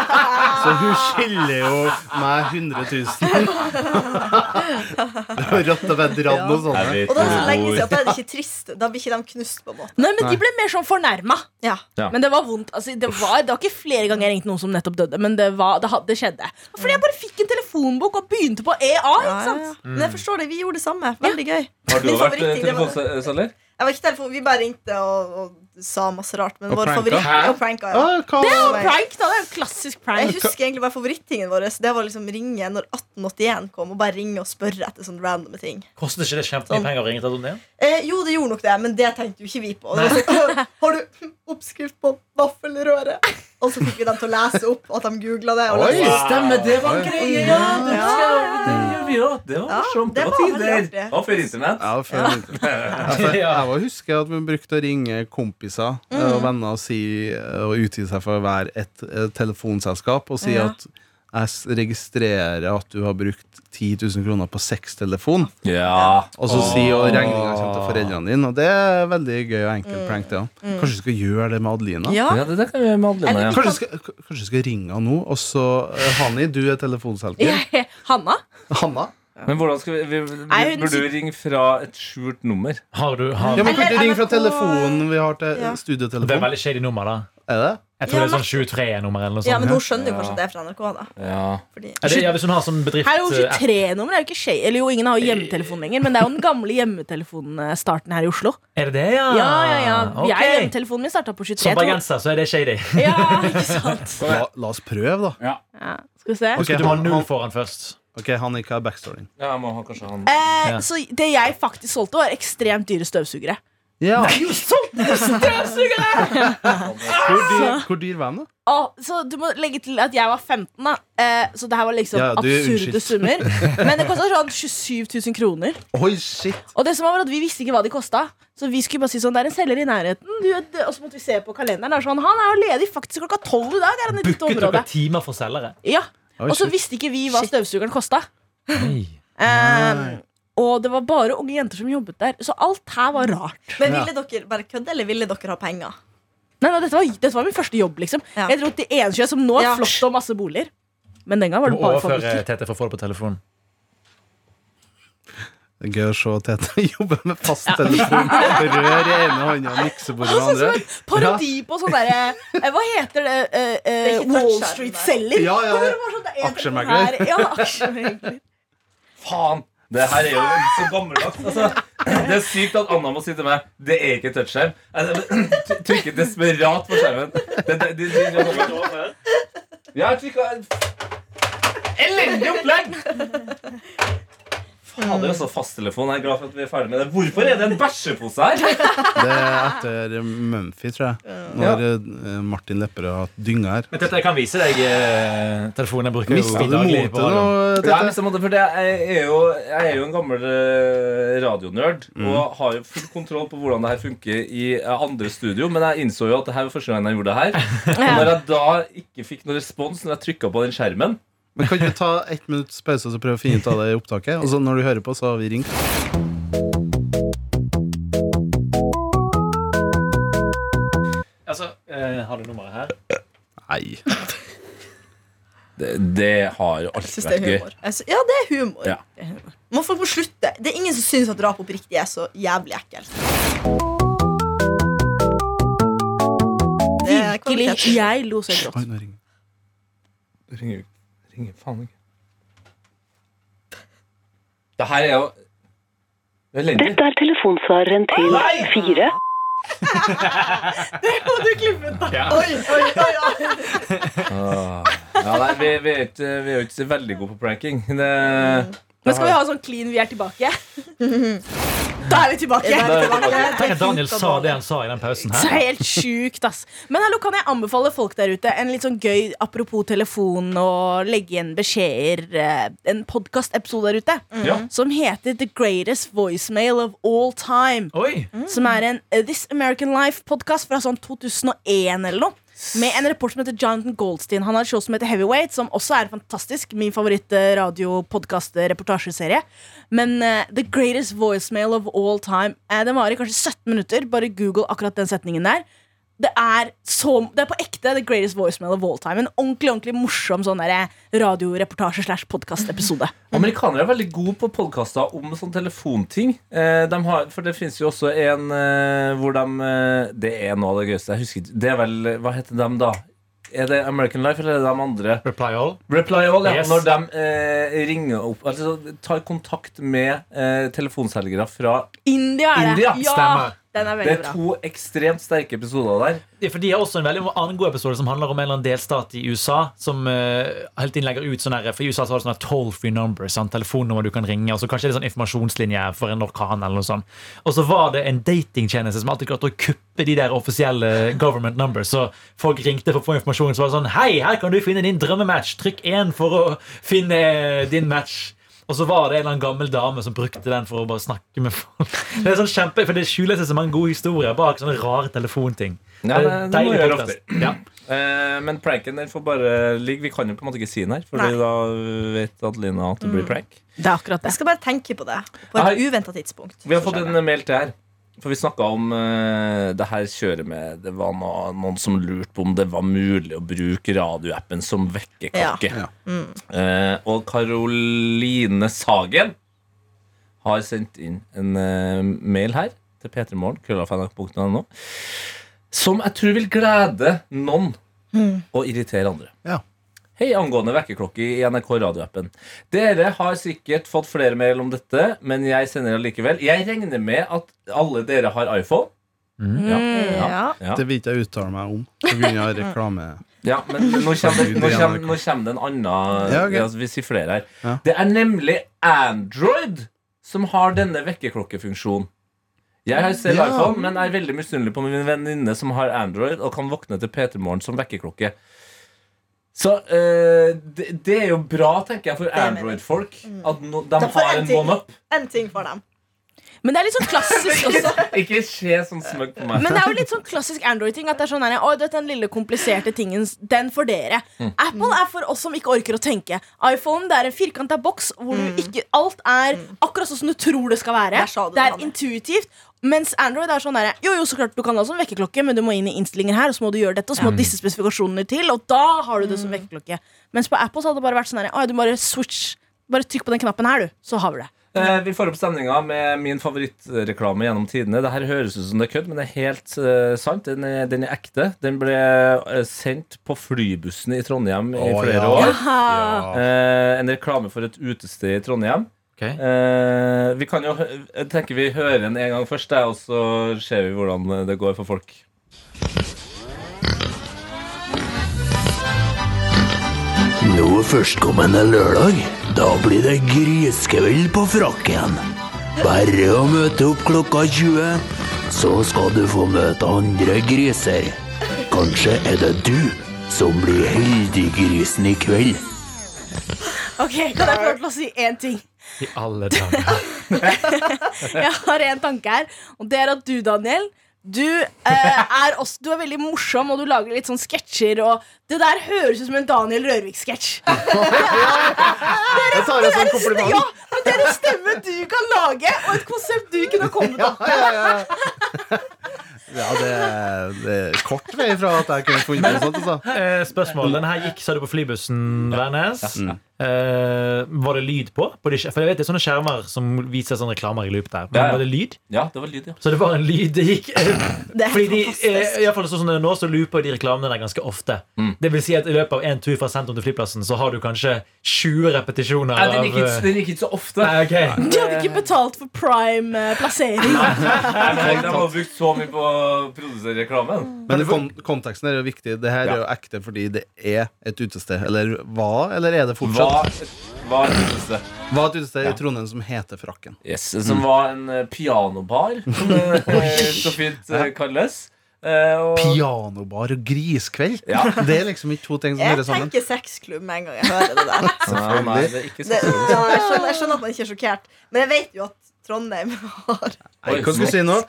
Speaker 7: Så hun skylder jo meg 100 000. Det var rått å bare dra noe sånt.
Speaker 4: Og da er det så lenge siden at da er det ikke trist. Da blir ikke de knust, på en måte.
Speaker 3: Nei, men De ble mer sånn fornærma.
Speaker 4: Ja.
Speaker 2: Ja.
Speaker 3: Men det var vondt. Altså, det, var, det var ikke flere ganger jeg ringte noen som nettopp døde, men det, var, det, had- det skjedde. Fordi jeg bare fikk en telefonbok og begynte på EA. ikke sant?
Speaker 4: Men jeg forstår det. Vi gjorde det samme. Veldig gøy.
Speaker 2: Har du
Speaker 4: Min
Speaker 2: vært eh,
Speaker 4: favorittting, det var-
Speaker 2: telefonselger?
Speaker 4: Jeg var ikke telefon, Vi bare ringte og, og sa masse rart. Men
Speaker 7: Og
Speaker 4: vår
Speaker 7: pranka.
Speaker 4: favoritt
Speaker 2: Hæ?
Speaker 4: og pranka, ja.
Speaker 7: Ja, hva?
Speaker 4: Det var-
Speaker 3: Prank, da. Det er jo klassisk
Speaker 4: Jeg
Speaker 3: prank.
Speaker 4: husker egentlig bare favorittingen vår. Det var liksom ringe når 1881 kom, og bare ringe og spørre etter sånne randome ting.
Speaker 5: Koster ikke det
Speaker 3: Sånn.
Speaker 5: kjempemye penger å ringe til Donné?
Speaker 4: Eh, jo, det gjorde nok det, men det tenkte jo ikke vi på. Det var sånn, har du oppskrift på vaffelrøre? Og så fikk vi dem til å lese opp at de googla det. Og leste.
Speaker 2: Stemmer, det var en greie! Ja, det gjør vi òg. Det var
Speaker 4: Ja,
Speaker 2: morsomt.
Speaker 4: det
Speaker 2: Det var
Speaker 4: var veldig
Speaker 2: tider.
Speaker 4: artig.
Speaker 2: Det var før internett.
Speaker 7: Ja, for, Ja, for jeg var husker at vi brukte å ringe kompiser eh,
Speaker 4: Mm.
Speaker 7: og venner og, si, og utgi seg for å være et eh, telefonselskap og si
Speaker 4: Ja.
Speaker 7: at jeg s- registrerer at du har brukt 10 000 kroner på sextelefon.
Speaker 2: Ja.
Speaker 7: Og så si og regninga kommer til foreldrene dine. Og det er veldig gøy og enkel prank. Det, også. Kanskje du skal gjøre det med Adelina?
Speaker 4: Mm. Ja.
Speaker 2: Ja, det der kan vi gjøre med Adelina.
Speaker 4: Eller
Speaker 2: Ja.
Speaker 4: vi-
Speaker 7: Kanskje du skal, k- kanskje du skal ringe henne nå, og så eh, Hani, du er telefonselger.
Speaker 3: Hanna?
Speaker 7: Hanna?
Speaker 2: Men hvordan skal vi, vi,
Speaker 3: Nei,
Speaker 2: vi
Speaker 3: hun
Speaker 2: Burde
Speaker 3: sier-
Speaker 2: du ringe fra et skjult nummer?
Speaker 5: Har du, har,
Speaker 7: Ja, men kan
Speaker 4: Eller
Speaker 7: du ringe fra
Speaker 4: NRK,
Speaker 7: telefonen vi har til
Speaker 4: ja.
Speaker 5: det er
Speaker 7: studiotelefon?
Speaker 5: veldig shady nummer, da.
Speaker 7: Er det?
Speaker 5: Jeg tror
Speaker 4: Ja,
Speaker 5: det er sånn 23-nummer eller noe sånt.
Speaker 4: ja, men hun skjønner jo
Speaker 2: Ja.
Speaker 4: kanskje at det er fra NRK, da.
Speaker 2: Ja.
Speaker 4: Fordi
Speaker 5: Er det, ja, hvis hun har sånn bedrift
Speaker 3: Her er jo
Speaker 5: eh,
Speaker 3: 23-nummer. er jo ikke skje- Eller jo, ingen har jo hjemmetelefon lenger, men det er jo den gamle hjemmetelefonstarten her i Oslo.
Speaker 5: Er det det, ja?
Speaker 3: Ja, ja, ja.
Speaker 5: Ok.
Speaker 3: Jeg, hjemmetelefonen min starta på
Speaker 5: Som
Speaker 3: 23.
Speaker 5: bergenser så er det shady.
Speaker 3: to- Ja, ikke sant?
Speaker 7: La, la oss prøve, da.
Speaker 3: Ja. Skal vi se.
Speaker 7: Ok,
Speaker 5: Husk at du må ha
Speaker 7: han-
Speaker 5: null
Speaker 7: han-
Speaker 5: foran først.
Speaker 7: Ok, han ikke har backstoryen.
Speaker 2: ja, jeg må ha kanskje han
Speaker 3: Eh,
Speaker 5: Ja.
Speaker 3: Så det jeg faktisk solgte, var ekstremt dyre støvsugere.
Speaker 7: Ja.
Speaker 3: Støvsugere!
Speaker 7: Hvor dyr, hvor dyr var den, da?
Speaker 3: Å, så du må legge til at jeg var 15, da. Eh, så det her var liksom
Speaker 7: Ja, du er
Speaker 3: absurde
Speaker 7: unnskyldt.
Speaker 3: summer. Men det kosta sånn 27 000 kroner.
Speaker 7: Oi, shit!
Speaker 3: Og det som var at Vi visste ikke hva de kosta, så vi skulle bare si sånn, det er en selger i nærheten. Du, det- og så måtte vi se på kalenderen. og Sånn, han er jo ledig faktisk klokka tolv i dag. er han i ditt
Speaker 5: Booket dere
Speaker 3: område
Speaker 5: timer for selgere?
Speaker 3: ja.
Speaker 7: Oi,
Speaker 3: Og så
Speaker 7: shit.
Speaker 3: visste ikke vi hva støvsugeren kosta.
Speaker 5: Nei.
Speaker 3: Ehm, og det var bare unge jenter som jobbet der, så alt her var rart.
Speaker 4: Men ville dere bare kødde, eller ville dere ha penger?
Speaker 3: Nei, nei, dette, var, dette var min første jobb, liksom.
Speaker 4: Ja.
Speaker 3: Jeg dro til Ensjø, som nå er
Speaker 4: Ja.
Speaker 3: flott og masse boliger. Men den gang var
Speaker 5: Du
Speaker 3: det
Speaker 5: må
Speaker 3: bare
Speaker 5: overføre
Speaker 3: fabrikker.
Speaker 5: Tete for å få det på telefonen.
Speaker 7: Det er Gøy å se Tete jobbe med fasttelefon. Rør i ene hånda og miksebordet i den
Speaker 3: Sånn
Speaker 7: andre.
Speaker 3: som en parodi på sånn derre eh, Hva heter det? eh, eh,
Speaker 4: Det er ikke
Speaker 3: Wall
Speaker 4: touchskjerm,
Speaker 3: Street-selger?
Speaker 7: Ja, ja, ja.
Speaker 3: Hvor det var sånn, det er en telefon
Speaker 7: Aksjemegler.
Speaker 3: her. Ja, aksjemegler.
Speaker 2: Faen! Det her er jo så gammeldags. Altså, det er sykt at Anna må si til meg Det er ikke touchskjerm. Jeg trykker desperat på skjermen. Det, det, de- de- de- ja, jeg trykka Elendig opplegg! Fader, altså, fasttelefon. Jeg er glad for at vi er ferdig med det. Hvorfor er det en bæsjepose her?
Speaker 7: Det er etter Mumphy, tror jeg. Når eh, Martin Lepperød har hatt dynga her.
Speaker 5: Men Tete, jeg kan vise deg eh, telefonen jeg bruker. jo
Speaker 7: Mista du
Speaker 5: daglig
Speaker 7: motet
Speaker 5: på radio.
Speaker 7: nå,
Speaker 2: Ja,
Speaker 7: Tete?
Speaker 2: hvis jeg måtte, for det, jeg, er jo, jeg er jo en gammel eh, radionerd
Speaker 4: Mm.
Speaker 2: og har jo full kontroll på hvordan det her funker i eh, andre studio, men jeg innså jo at det her var første gang jeg gjorde det her. Og når jeg da ikke fikk noen respons når jeg trykka på den skjermen
Speaker 7: Men kan du ta ett minutts pause og så prøve å finne ut av det i opptaket? Og så når du hører på, så har vi ringt.
Speaker 5: Altså, eh, har du nummeret her?
Speaker 7: Nei.
Speaker 2: Det, har jo
Speaker 4: Jeg
Speaker 2: alltid
Speaker 4: synes det er humor. Jeg sy- ja, det er humor.
Speaker 2: Ja.
Speaker 4: Det er humor. Man folk må slutte. Det er ingen som syns at drap oppriktig er så jævlig ekkelt. Det er
Speaker 3: Virkelig.
Speaker 4: kvalitet.
Speaker 3: Jeg lo så jeg gråt.
Speaker 7: Oi, nå ringer
Speaker 2: Ringer, ringer faen ikke. Det her er jo Elendig.
Speaker 9: Dette er telefonsvareren til fire.
Speaker 4: Og du klippet da. Oi, oi, oi, oi.
Speaker 2: Ah. Ja, nei, vi, vi, er ikke, vi er jo ikke veldig gode på pranking. Det,
Speaker 3: Men skal vi ha sånn clean 'vi er tilbake'? da er vi tilbake.
Speaker 4: Det er tilbake.
Speaker 5: Tenk at Daniel sa det han sa i den pausen
Speaker 3: Så
Speaker 5: her.
Speaker 3: helt sjukt, ass. Men hallo, kan jeg anbefale folk der ute en litt sånn gøy apropos telefon og legge igjen beskjeder, eh, en podkastepisode der ute
Speaker 5: Mm.
Speaker 2: ja.
Speaker 3: som heter The Greatest Voicemail of All Time.
Speaker 5: Oi!
Speaker 3: Som er en eh, This American Life-podkast fra sånn 2001 eller noe. Med en report som heter Jonathan Goldstein. Han har et show som heter Heavyweight, som også er fantastisk. Min eh, favoritt-radio-podkast-reportasjeserie. eh, Men eh, The Greatest Voicemail of All Time eh, Den varer kanskje 17 minutter. Bare google akkurat den setningen der. Det er, så, det er på ekte The Greatest Voicemail of All Time. En ordentlig ordentlig morsom sånn derre radioreportasje-slash-podkast-episode.
Speaker 2: Amerikanere er veldig gode på podkaster om sånn telefonting. Eh, de har, for det finnes jo også en eh, hvor de eh, Det er noe av det gøyeste. Jeg husker ikke. Det er vel Hva heter de da? Er det American Life eller er det de andre?
Speaker 5: Reply all.
Speaker 2: Reply All, ja.
Speaker 5: Yes.
Speaker 2: Når de eh, ringer opp Altså tar kontakt med eh, telefonselgere fra
Speaker 3: India er det.
Speaker 2: India,
Speaker 5: stemmer.
Speaker 3: Ja, den er
Speaker 2: Det
Speaker 3: veldig
Speaker 2: er
Speaker 3: bra.
Speaker 2: to ekstremt sterke episoder der.
Speaker 5: Ja, for De har også en veldig annen god episode som handler om en eller annen delstat i USA. Som eh, hele tiden legger ut sånne, her- For I USA så har du sånne toll free numbers, sånn, telefonnummer du kan ringe. Og så kanskje det er sånn informasjonslinje for en orkan eller noe sånt. Og så var det en datingtjeneste som alltid klarte å kuppe de der offisielle government numbers. Så folk ringte for å få informasjon. Så var det sånn Hei, her kan du finne din drømmematch! Trykk 1 for å finne din match. Og så var det en eller annen gammel dame som brukte den for å bare snakke med folk. Det er sånn kjempe, for det skjuler seg så mange gode historier bak sånne rare telefonting.
Speaker 2: Ja, det, det Eh, må
Speaker 5: Eh,
Speaker 2: vi
Speaker 5: Deilig
Speaker 2: gjøre
Speaker 5: podcast.
Speaker 2: oftere.
Speaker 5: Ja.
Speaker 2: Eh, men pranken den får bare ligge. Vi kan jo på en måte ikke si den her, Fordi
Speaker 4: Nei.
Speaker 2: da vet Adelina at det blir prank.
Speaker 3: Det er akkurat det.
Speaker 4: Jeg skal bare tenke på det på
Speaker 2: Jeg har-
Speaker 4: et uventa tidspunkt.
Speaker 2: Vi har fått en mail til her. For vi snakka om eh, det her kjøret med Det var noe, noen som lurte på om det var mulig å bruke radioappen som vekkerklokke.
Speaker 7: Ja. Ja.
Speaker 2: Eh, og Karoline Sagen har sendt inn en eh, mail her til p3morgen, krøllafnrk.no, som jeg tror vil glede noen og irritere andre.
Speaker 7: Ja.
Speaker 2: Hei angående vekkerklokke i NRK radioappen. Dere har sikkert fått flere mail om dette, men jeg sender allikevel. Jeg regner med at alle dere har iPhone. Ja,
Speaker 3: Mm.
Speaker 4: Mm.
Speaker 2: ja,
Speaker 4: Ja.
Speaker 2: ja.
Speaker 7: Det vil ikke jeg uttale meg om pga. reklame.
Speaker 2: ja, men nå kommer, det- nå kommer, nå kommer det en annen
Speaker 7: Ja, ok.
Speaker 2: altså, Vi sier flere her.
Speaker 7: Ja.
Speaker 2: Det er nemlig Android som har denne vekkerklokkefunksjonen. Jeg har selv
Speaker 7: Ja.
Speaker 2: iPhone, men er veldig misunnelig på min venninne som har Android og kan våkne til P3morgen som vekkerklokke. Så eh, det, det er jo bra, tenker jeg, for
Speaker 4: er
Speaker 2: Android-folk. At no, de
Speaker 4: Mm. Da får
Speaker 2: har
Speaker 4: en
Speaker 2: en
Speaker 4: ting.
Speaker 2: one-up.
Speaker 4: En ting for dem.
Speaker 3: Men det er litt sånn klassisk også.
Speaker 2: Ikke se sånn smøgg på meg.
Speaker 3: Men det er jo litt sånn klassisk Android-ting. At det er sånn her, «Å, du vet den lille kompliserte tingen, den for dere.
Speaker 4: Mm.
Speaker 3: Apple er for oss som ikke orker å tenke. iPhone det er en firkanta boks hvor du ikke, alt er akkurat sånn som du tror det skal være.
Speaker 4: Mm. Der sa du
Speaker 3: Det
Speaker 4: det,
Speaker 3: er
Speaker 4: Hanne.
Speaker 3: intuitivt. Mens Android er sånn her, Jo, jo, så klart du kan ha det som vekkerklokke, men du må inn i innstillinger her, og så må du gjøre dette, og så må
Speaker 4: Mm.
Speaker 3: disse spesifikasjonene til, og da har du det som vekkerklokke. Mens på Apple så hadde det bare vært sånn her, «Å, du må bare switch. Bare trykk på den knappen her, du, så har vi det.
Speaker 2: Eh, vi får opp stemninga med min favorittreklame gjennom tidene. Det her høres ut som det er kødd, men det er helt eh, sant. Den er, den er ekte. Den ble eh, sendt på flybussen i Trondheim i
Speaker 7: Å,
Speaker 2: flere
Speaker 7: ja.
Speaker 2: år.
Speaker 7: Ja.
Speaker 2: Eh, en reklame for et utested i Trondheim.
Speaker 5: Ok.
Speaker 2: Eh, vi kan jo hø- Jeg tenker vi hører den en gang først, der, og så ser vi hvordan det går for folk.
Speaker 10: Nå førstkommende lørdag, da blir det griskveld på frakken. Bare å møte opp klokka 20, så skal du få møte andre griser. Kanskje er det du som blir heldiggrisen i kveld.
Speaker 3: Ok, Kan jeg få lov til å si én ting?
Speaker 5: I alle dager.
Speaker 3: Jeg har en tanke her, og det er at du, Daniel du, eh, er også, du er veldig morsom, og du lager litt sånn sketsjer. Og det der høres ut som en Daniel Rørvik-sketsj.
Speaker 7: Jeg tar det som kompliment.
Speaker 3: Ja, men det er en stemme du kan lage, og et konsept du kunne kommet opp
Speaker 7: Ja, ja, ja. ja det, er, det er kort vei fra at jeg kunne funnet på noe sånt. Altså.
Speaker 5: Eh, Spørsmål. Denne her gikk, sa du, på flybussen, Værnes.
Speaker 2: Mm.
Speaker 5: Eh, var det lyd på? på de, skjer- for jeg vet det er sånne skjermer som viser sånne reklamer i loop der. Men
Speaker 2: Ja, ja.
Speaker 5: var det lyd?
Speaker 2: Ja, det var lyd, ja.
Speaker 5: Så det var en lyd det gikk
Speaker 4: Det er
Speaker 5: Fordi de, eh,
Speaker 4: fantastisk.
Speaker 5: i hvert fall sånn som det er nå så looper de reklamene der ganske ofte.
Speaker 2: Mm.
Speaker 5: Det vil si at i løpet av en tur fra sentrum til flyplassen så har du kanskje 20 repetisjoner.
Speaker 2: Nei, den gikk ikke,
Speaker 5: av, eh,
Speaker 2: den gikk ikke så ofte.
Speaker 5: Nei, ok.
Speaker 3: De hadde
Speaker 5: eh,
Speaker 3: ikke betalt for eh, prime-plassering.
Speaker 2: Nei, men De har brukt så mye på å produsere reklamen.
Speaker 7: Men kon konteksten er jo viktig. Det her er jo ekte fordi det er et utested. Eller hva? Eller er det fortsatt?
Speaker 2: Var, var det siste.
Speaker 7: Var et utested i Trondheim som heter Frakken.
Speaker 2: Yes, som var en eh, pianobar, som det eh, så fint eh, kalles. Eh, og-
Speaker 7: Pianobar og griskveld?
Speaker 2: Ja.
Speaker 7: Det er liksom ikke to ting som
Speaker 4: Jeg
Speaker 7: hører sammen.
Speaker 4: tenker sexklubb med en gang jeg hører det der.
Speaker 2: Nei, nei, det er ikke
Speaker 4: Det,
Speaker 2: så
Speaker 4: ja, jeg, skjønner, jeg skjønner at man ikke er sjokkert, men jeg vet jo at Trondheim har
Speaker 7: Nei, Hva skulle du si nå?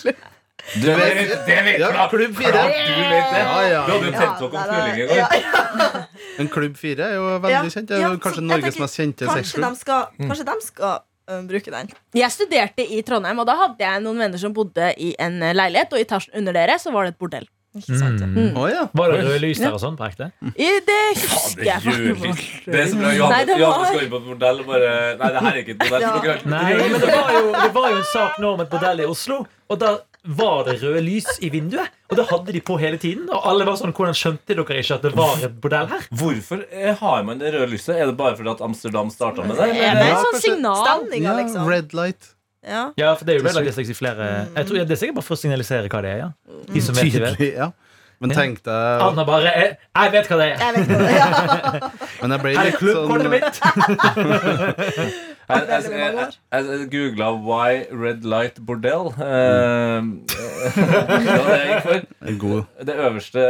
Speaker 2: Det vet det vet
Speaker 7: Ja,
Speaker 2: klart.
Speaker 7: klubb fire.
Speaker 2: Du vet det.
Speaker 7: Ja, ja.
Speaker 2: Du hadde jo
Speaker 4: Ja,
Speaker 2: tent opp om
Speaker 4: der er-
Speaker 2: knulling i
Speaker 4: ja,
Speaker 2: går.
Speaker 4: ja.
Speaker 7: Men Klubb 4 er jo
Speaker 4: Ja,
Speaker 7: veldig kjent. Det er
Speaker 4: ja,
Speaker 7: jo kanskje
Speaker 4: så jeg
Speaker 7: Norges
Speaker 4: tenker,
Speaker 7: mest kjente
Speaker 4: Kanskje de
Speaker 7: sexklubb.
Speaker 4: skal,
Speaker 2: Mm.
Speaker 4: kanskje de skal øh, bruke den.
Speaker 3: Jeg studerte i Trondheim, og da hadde jeg noen venner som bodde i en eh, leilighet. Og i etasjen under dere så var det et bordell.
Speaker 4: Ikke sant?
Speaker 5: Mm.
Speaker 7: Å ja.
Speaker 5: Var det røde lys der og sånn på ekte?
Speaker 3: I det husker
Speaker 2: Det
Speaker 3: jeg
Speaker 2: er juli.
Speaker 3: faktisk.
Speaker 2: Det er så bra.
Speaker 3: Nei,
Speaker 2: Johanne
Speaker 3: det
Speaker 2: Johanne
Speaker 3: var-
Speaker 2: skal inn på et bordell og bare Nei, det her er ikke et bordell. for
Speaker 4: Ja.
Speaker 2: dere-
Speaker 5: Nei, men det var, jo, det var jo en sak nå om et bordell i Oslo. Og da var det røde lys i vinduet. Og det hadde de på hele tiden. Og alle var sånn, hvordan skjønte dere ikke at det var et bordell her?
Speaker 2: Hvorfor eh, har man det røde lyset? Er det bare fordi at Amsterdam starta med det?
Speaker 3: Det
Speaker 2: eller?
Speaker 3: er
Speaker 7: Ja,
Speaker 3: et sånt
Speaker 7: kanskje-
Speaker 3: signal.
Speaker 4: Stemninga,
Speaker 7: ja.
Speaker 4: sånn liksom.
Speaker 7: Red light.
Speaker 4: Ja.
Speaker 5: Ja, for det er jo vel i flere jeg tror, Det er sikkert bare for å signalisere hva det er. ja De som Ah. vet, de vet.
Speaker 7: Tydelig, ja. Men tenk deg
Speaker 5: Anna bare jeg, 'Jeg vet hva det er'.
Speaker 4: Jeg vet ikke. Ja.
Speaker 7: Men jeg ble
Speaker 5: Her er
Speaker 7: litt
Speaker 5: klubbkortet
Speaker 7: sånn
Speaker 5: mitt!
Speaker 2: Jeg, jeg,
Speaker 4: Veldig
Speaker 2: jeg,
Speaker 4: mange år.
Speaker 2: jeg, jeg googla 'Why Red Light Bordell'. Eh, det var det jeg gikk for.
Speaker 7: God.
Speaker 2: Det øverste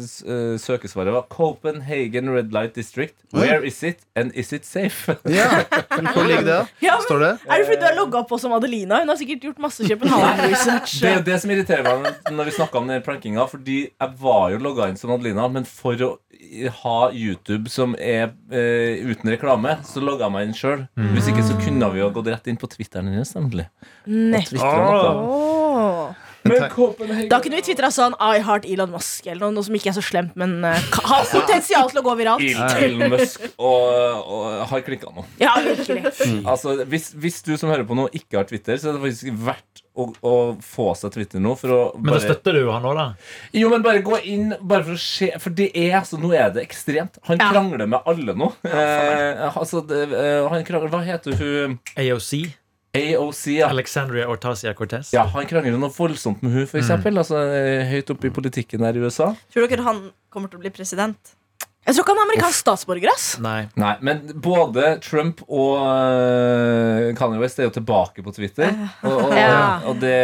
Speaker 2: s- eh, søkesvaret var Copenhagen Red Light District. Where is it, and is it safe?
Speaker 7: Ja. Men Hvor ligger det, da?
Speaker 3: Ja, men-
Speaker 7: Står det?
Speaker 3: Er det fordi du har logga på som Adelina? Hun har sikkert gjort masse København-research.
Speaker 2: Det er jo det som irriterer meg når vi snakka om den prankinga. Fordi jeg var jo logga inn som Adelina, men for å ha YouTube som er eh, uten reklame, så logga jeg meg inn sjøl. Hvis ikke så kunne vi jo gått rett inn på Twitteren hennes, nemlig.
Speaker 3: Nett.
Speaker 2: Twitter,
Speaker 4: Åh.
Speaker 2: men Copenhagen
Speaker 3: Da kunne vi tvitra sånn I heart Elon Musk eller noe, noe som ikke er så slemt, men eh, ka- har potensial til å gå viralt.
Speaker 2: Elon Musk og, og har klikka nå.
Speaker 3: Ja, virkelig.
Speaker 2: Altså, hvis, hvis du som hører på nå ikke har Twitter, så er det faktisk verdt å, å få seg Twitter nå. For å
Speaker 5: Men da
Speaker 2: bare,
Speaker 5: støtter du jo han òg, da.
Speaker 2: jo, men bare gå inn, bare for å se. For det er altså, nå er det ekstremt. Han
Speaker 3: Ja.
Speaker 2: krangler med alle nå. eh, altså, det, eh, han krangler Hva heter hun?
Speaker 5: AOC.
Speaker 2: AOC, ja.
Speaker 5: Alexandria Ortasia Cortez.
Speaker 2: ja. Han krangler noe voldsomt med hun, for eksempel. Altså, eh, høyt oppe i politikken her i USA.
Speaker 4: Tror dere han kommer til å bli president?
Speaker 3: Jeg tror ikke han er amerikansk statsborger, ass.
Speaker 5: Nei.
Speaker 2: Nei, men både Trump og eh, Kanye West er jo tilbake på Twitter. Og, og,
Speaker 3: Ja.
Speaker 2: og det,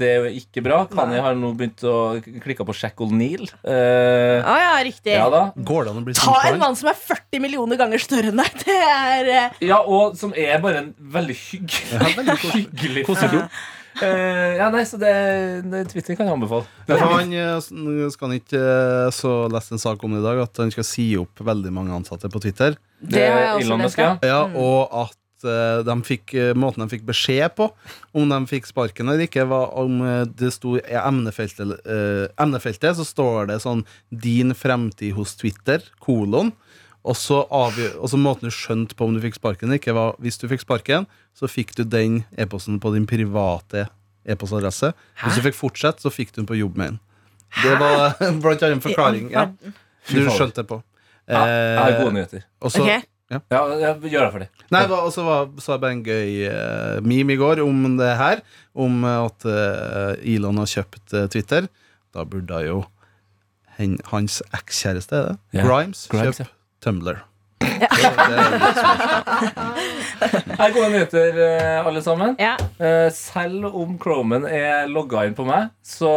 Speaker 2: det er jo ikke bra. Kanye har nå begynt å klikke på Shack O'Neill. Eh,
Speaker 3: Ja, ja, riktig.
Speaker 2: ja da.
Speaker 7: Går det an å bli
Speaker 3: Ta en
Speaker 7: samtalen?
Speaker 3: mann som er 40 millioner ganger større enn deg. Det er eh,
Speaker 2: Ja, og som er bare en veldig hyggelig Hyggelig fyr. Eh, ja, nei, så det, det Twitter kan jeg anbefale.
Speaker 7: Ja, for Han eh, s- nå skal han ikke eh, så leste en sak om det i dag at han skal si opp veldig mange ansatte på Twitter.
Speaker 3: Det har jeg også
Speaker 2: Eh, Elon Musk,
Speaker 3: lest.
Speaker 2: ja.
Speaker 3: ja.
Speaker 7: Ja, Og at eh, de fikk, eh, måten de fikk beskjed på, om de fikk sparken eller ikke, var om eh, det sto i emnefeltet, eh, emnefeltet, så står det sånn 'Din fremtid hos Twitter', kolon. Og så, avgjø- og så måten du skjønte på om du fikk sparken eller ikke, var hvis du fikk sparken, så fikk du den e-posten på din private e-postadresse. Hvis du fikk fortsette, så fikk du den på jobbmailen. Det var blant annet en forklaring. Ja. Du skjønte det på.
Speaker 2: Ja, Jeg har gode
Speaker 7: Eh,
Speaker 2: nyheter.
Speaker 7: og så
Speaker 3: Ok.
Speaker 2: Ja, jeg gjør det for det.
Speaker 7: Nei, hva- og så var- så jeg bare en gøy eh, meme i går om det her. Om eh, at eh, Elon har kjøpt eh, Twitter. Da burde da jo hen, hans ekskjæreste, er det?
Speaker 2: Ja.
Speaker 7: Grimes,
Speaker 2: Grimes, ja.
Speaker 7: kjøpe Tumblr.
Speaker 2: Her er gode nyheter, eh, alle sammen.
Speaker 3: Ja.
Speaker 2: Eh, Selv om Chromen er logga inn på meg, så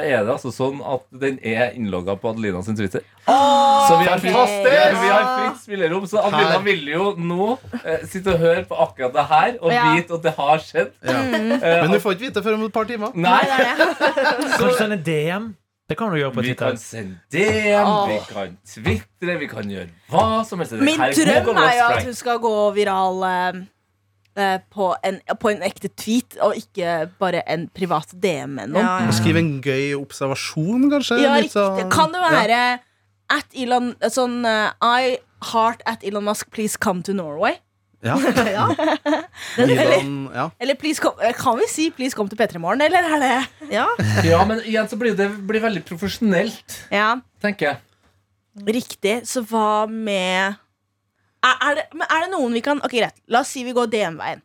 Speaker 2: er det altså sånn at den er innlogga på Adelina sin Twitter. så vi har, fritt, vi har fritt spillerom. Så Adelina
Speaker 7: Her.
Speaker 2: vil jo nå eh, sitte og høre på akkurat det her og
Speaker 3: Ja.
Speaker 2: vite at det har skjedd.
Speaker 7: Ja.
Speaker 3: Mm.
Speaker 2: Eh,
Speaker 7: Men du får ikke vite før om et par timer.
Speaker 2: Nei,
Speaker 5: Kanskje sende DM? Det kan du gjøre på
Speaker 2: vi
Speaker 5: Twitter.
Speaker 2: kan sende DM, vi kan tvitre, vi kan gjøre hva som helst. Det
Speaker 3: Min
Speaker 2: her må gå
Speaker 3: drøm
Speaker 2: bra,
Speaker 3: er jo at
Speaker 2: Frank.
Speaker 3: hun skal gå viral eh, eh, på, en, på en ekte tweet, og ikke bare en privat DM med noen.
Speaker 4: Ja, ja.
Speaker 7: Skriv en gøy observasjon, kanskje.
Speaker 3: Ja,
Speaker 7: Litt
Speaker 3: riktig.
Speaker 7: sånn-
Speaker 3: Kan det
Speaker 7: Ja.
Speaker 3: være at Elon Sånn eh, I Heart at Elon Musk, please come to Norway.
Speaker 7: Ja.
Speaker 3: Ja.
Speaker 7: Elon, ja.
Speaker 3: Eller please come, eh, kan vi si 'please come to P3 Morgen', eller er det Ja.
Speaker 2: Ja, men igjen så blir det blir veldig profesjonelt,
Speaker 3: ja.
Speaker 2: tenker jeg.
Speaker 3: Riktig. Så hva med er, er, det, men er det noen vi kan Ok, greit. La oss si vi går DM-veien.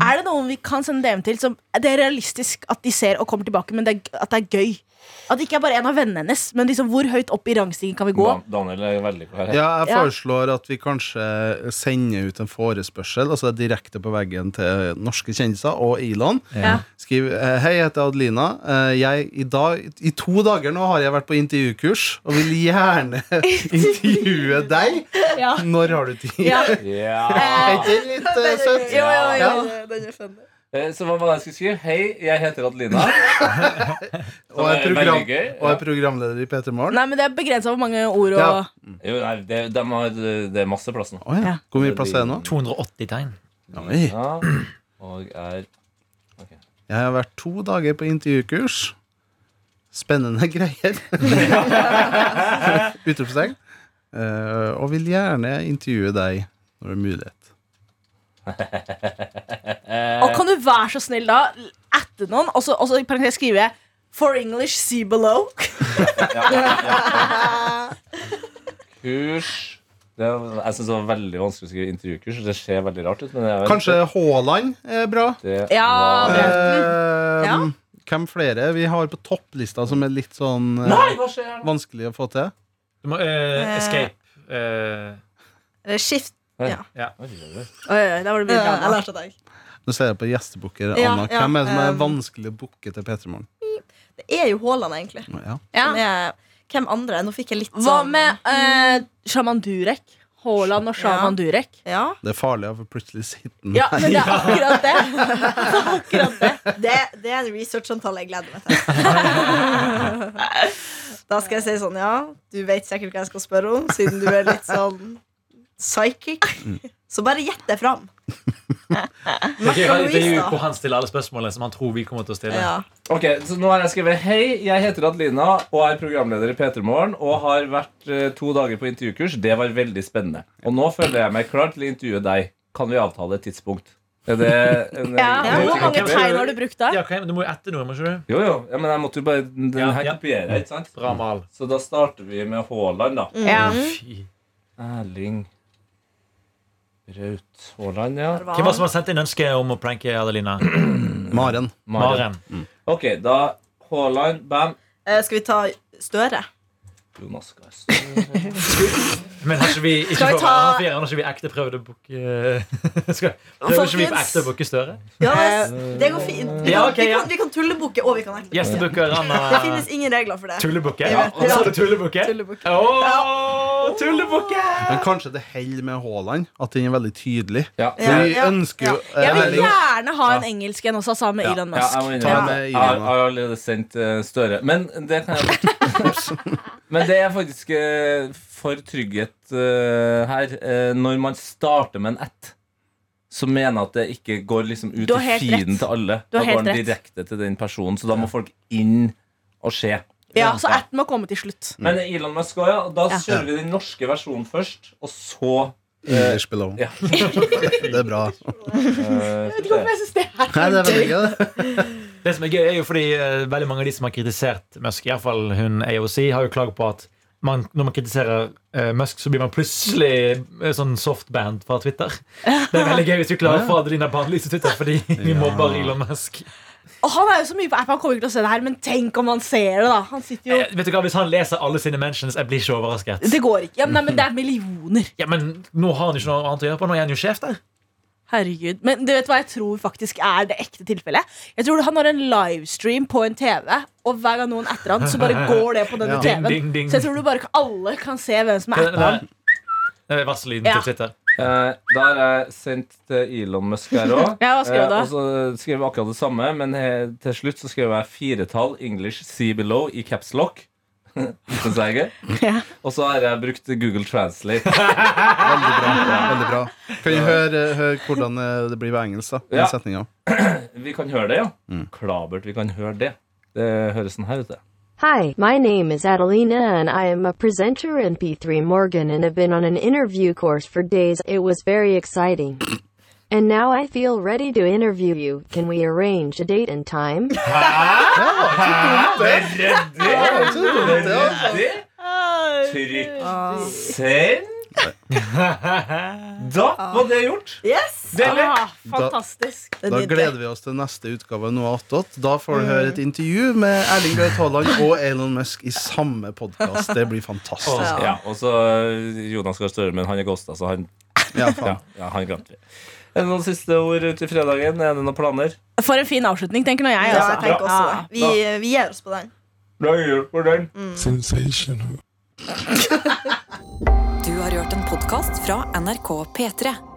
Speaker 3: Er det noen vi kan sende DM til som det er realistisk at de ser og kommer tilbake, men det er, at det er gøy? At det ikke er bare en av vennene hennes, men liksom hvor høyt opp i rangstigen kan vi gå?
Speaker 2: Dan- Daniel er veldig klar. her.
Speaker 7: ja, jeg
Speaker 3: Ja.
Speaker 7: foreslår at vi kanskje sender ut en forespørsel, altså det er direkte på veggen til norske kjendiser og Elon.
Speaker 3: Ja.
Speaker 7: Skriv eh, Hei, jeg heter Adelina. Eh, Jeg, i, dag, I to dager nå har jeg vært på intervjukurs og vil gjerne intervjue deg.
Speaker 3: Ja.
Speaker 7: Når har du tid?
Speaker 3: Ja.
Speaker 2: Ja.
Speaker 7: Etter litt eh, søtt.
Speaker 4: Jo, jo, jo,
Speaker 7: Ja.
Speaker 4: jo, den er funny.
Speaker 2: Eh, Så hva var det jeg skulle skrive? Hei, jeg heter Adelina.
Speaker 7: Og er,
Speaker 2: Det var
Speaker 7: program,
Speaker 2: veldig gøy,
Speaker 7: og
Speaker 2: ja.
Speaker 7: er programleder i P3 Morgen.
Speaker 3: Nei, men det er begrensa hvor mange ord og
Speaker 7: Ja.
Speaker 2: Jo, nei, det, dem har, eh, det er masse plass nå.
Speaker 7: Å ja.
Speaker 3: Ja.
Speaker 7: Hvor mye plass er det nå?
Speaker 5: 280 tegn.
Speaker 7: Oi.
Speaker 2: Ja, og er
Speaker 7: Jeg har vært to dager på intervjukurs. Spennende greier. Utropstegn. Eh, og vil gjerne intervjue deg når det er mulighet.
Speaker 3: Og kan du være så snill da Atte noen Og så og så i parentes skrive For English, see below
Speaker 2: kurs det, er- Jeg synes det var veldig vanskelig å skrive intervjukurs. Det ser veldig rart ut. Men det er vel-
Speaker 7: Kanskje Haaland er bra?
Speaker 2: det
Speaker 3: Ja,
Speaker 2: var-
Speaker 7: Eh,
Speaker 3: Ja.
Speaker 7: Hvem flere? Vi har på topplista som er litt sånn eh,
Speaker 2: Nei, hva skjer nå?
Speaker 7: vanskelig å få til.
Speaker 5: Du må eh, escape. eh,
Speaker 4: Eller skift.
Speaker 3: Oi, oi, da var det
Speaker 4: Ja, jeg
Speaker 3: mye drama
Speaker 4: lærte det.
Speaker 7: Nå ser jeg på gjestebooker.
Speaker 4: Ja,
Speaker 7: Anna.
Speaker 4: ja,
Speaker 7: Hvem er det som er
Speaker 4: eh,
Speaker 7: vanskelig å booke til P3 Morgen?
Speaker 4: Det er jo Haaland, egentlig.
Speaker 7: Ja.
Speaker 3: ja.
Speaker 4: Som er, hvem andre? Nå fikk jeg litt
Speaker 3: Hva
Speaker 4: sånn-
Speaker 3: med eh, Shaman Durek? Haaland og Shaman Durek
Speaker 4: Ja.
Speaker 7: Det er farlig, for plutselig sitter den
Speaker 3: Ja, men det er akkurat det
Speaker 4: Akkurat det. Det, det er en researchamtale jeg gleder meg til. Da skal jeg si sånn, ja, du vet sikkert hva jeg skal spørre om, siden du er litt sånn psychic. Så bare gjett det fram.
Speaker 5: Det er gøy å ha et intervju
Speaker 4: Louise,
Speaker 5: hvor han stiller alle spørsmålene som han tror vi kommer til å stille.
Speaker 4: Ja.
Speaker 2: Ok, så nå har jeg skrevet Hei, jeg heter Adelina og er programleder i P3 Morgen og har vært eh, to dager på intervjukurs. Det var veldig spennende. Og nå føler jeg meg klar til å intervjue deg. Kan vi avtale et tidspunkt? Er det en,
Speaker 3: ja.
Speaker 2: en-
Speaker 3: Hvor mange tegn har du brukt da?
Speaker 5: Ja, hva- du må jo ette noe, må ikke du?
Speaker 2: Jo, jo. Ja, men jeg måtte jo bare Den
Speaker 5: Ja,
Speaker 2: her
Speaker 5: ja.
Speaker 2: kopierer jeg, ikke sant?
Speaker 5: Bra mal.
Speaker 2: Så da starter vi med Haaland, da.
Speaker 3: Ja.
Speaker 4: Mm.
Speaker 5: Fy.
Speaker 2: Erling Braut Haaland, ja.
Speaker 5: Hvem var det som har sendt inn ønske om å pranke Adelina?
Speaker 7: Maren.
Speaker 2: Maren.
Speaker 5: Maren.
Speaker 2: Ok, da Haaland, bam.
Speaker 4: Eh, skal vi ta Støre?
Speaker 2: Jonas Gahr
Speaker 5: Men har ikke vi ikke
Speaker 4: Skal vi
Speaker 5: for,
Speaker 4: ta-
Speaker 5: han fire, han har ikke vi ekte prøvd å booke Skal- Prøver ikke vi på
Speaker 4: Folkens.
Speaker 5: ekte å booke Støre?
Speaker 4: Ja, Eh, det går fint. Vi
Speaker 5: Ja,
Speaker 4: kan,
Speaker 5: ok,
Speaker 4: vi
Speaker 5: ja.
Speaker 4: kan, vi kan tullebooke, og vi kan ekte.
Speaker 5: Gjestebooker
Speaker 4: Det
Speaker 5: Anna
Speaker 4: finnes ingen regler for det.
Speaker 5: Tullebukke?
Speaker 4: Ja,
Speaker 5: Hva sa du? Tullebukke?
Speaker 4: Tullebukke.
Speaker 5: Åh, Tullebukke!
Speaker 7: Men kanskje det holder med Haaland at den er veldig tydelig.
Speaker 2: Ja.
Speaker 7: For vi
Speaker 4: Ja, ja,
Speaker 7: ønsker jo eh,
Speaker 3: Jeg vil
Speaker 7: veldig-
Speaker 3: gjerne ha en engelsk en også Sammen med
Speaker 7: Ja.
Speaker 3: Elon
Speaker 2: Ja, jeg må
Speaker 3: Musk
Speaker 7: Ta
Speaker 2: innrømme
Speaker 7: med
Speaker 2: det. Jeg
Speaker 7: Irina.
Speaker 2: jeg har allerede sendt eh, Støre. Men det kan jeg Men det er faktisk eh, for trygghet eh, her. Eh, når man starter med en ett, så mener jeg at det ikke går liksom ut
Speaker 3: Du
Speaker 2: i
Speaker 3: har helt rett.
Speaker 2: feeden til alle.
Speaker 3: Du
Speaker 2: Da
Speaker 3: har
Speaker 2: går
Speaker 3: helt
Speaker 2: den
Speaker 3: rett.
Speaker 2: direkte til den personen, så da må folk inn og se.
Speaker 3: Ja, så atten må komme til slutt
Speaker 2: Men Elon Musk også, ja. og Da
Speaker 3: Ja.
Speaker 2: kjører vi den norske versjonen først, og så
Speaker 7: English below.
Speaker 2: Ja.
Speaker 7: Det er bra.
Speaker 2: eh,
Speaker 3: Jeg vet ikke hvorfor jeg synes det er
Speaker 7: Nei, det er veldig gøy, det.
Speaker 5: Det som er gøy, er jo fordi eh, veldig mange av de som har kritisert Musk, iallfall hun AOC, har jo klaget på at man, når man kritiserer eh, Musk, så blir man plutselig eh, sånn softband fra Twitter. Det er veldig gøy hvis du klarer å få Adelina Barnelys til Twitter fordi vi mobber Elon Musk.
Speaker 3: Og han er jo så mye på app, han kommer ikke til å se det her Men tenk om han ser det da Han sitter jo
Speaker 5: Eh, Vet du hva, Hvis han leser alle sine mentions, jeg blir ikke overrasket.
Speaker 3: Det går ikke. Ja, men, nei, men det er millioner.
Speaker 5: Ja, Men nå har han jo ikke noe annet å gjøre på. Nå er han jo sjef der.
Speaker 3: Herregud. Men du vet hva jeg tror faktisk er det ekte tilfellet? Jeg tror Han har en livestream på en TV, og hver gang noen etter han, så bare går det på denne
Speaker 7: Ja.
Speaker 5: Ding,
Speaker 3: TV-en.
Speaker 5: ding, ding.
Speaker 3: Så jeg tror du bare ikke alle kan se hvem som er
Speaker 5: Det
Speaker 3: etter han.
Speaker 5: er Varsellyden
Speaker 3: Ja.
Speaker 5: til Twitter.
Speaker 2: Eh, da har jeg sendt til Elon Musk her òg.
Speaker 3: Ja, hva skrev du da?
Speaker 2: og så skrev jeg akkurat det samme, men he, til slutt så skrev jeg firetall English see below i caps lock. Synes jeg er gøy.
Speaker 3: Ja.
Speaker 2: Og så har jeg brukt Google Translate.
Speaker 7: Veldig bra. Veldig bra. Kan vi høre, høre hvordan eh, det blir på engelsk, da? Den
Speaker 2: Ja.
Speaker 7: setninga.
Speaker 2: Vi kan høre det, ja. Klabert, vi kan høre det. Det høres sånn her ut. det.
Speaker 11: Hi, my name is Adelina and I am a presenter in P3 Morgan and have been on an interview course for days. It was very exciting. And now I feel ready to interview you. Can we arrange a date and time?
Speaker 2: Trykk send. Da var det gjort.
Speaker 4: Yes!
Speaker 2: Deilig.
Speaker 3: Ah, fantastisk.
Speaker 7: Da gleder vi oss til neste utgave av Noe attåt. Da får
Speaker 3: Mm.
Speaker 7: du høre et intervju med Erling Braut Haaland og Elon Musk i samme podkast. Det blir fantastisk.
Speaker 2: Og- Ja, og så eh, Jonas Gahr Støre, men han er ghosta, så han
Speaker 7: Ja,
Speaker 2: ja, ja, han glemte vi. Er det noen siste ord ut i fredagen? Er det noen planer?
Speaker 3: For en fin avslutning, tenker nå jeg.
Speaker 4: Ja,
Speaker 3: altså.
Speaker 4: jeg tenker også
Speaker 3: Ja.
Speaker 4: det. Vi, vi gir oss på den.
Speaker 1: Du har hørt en podkast fra NRK P3.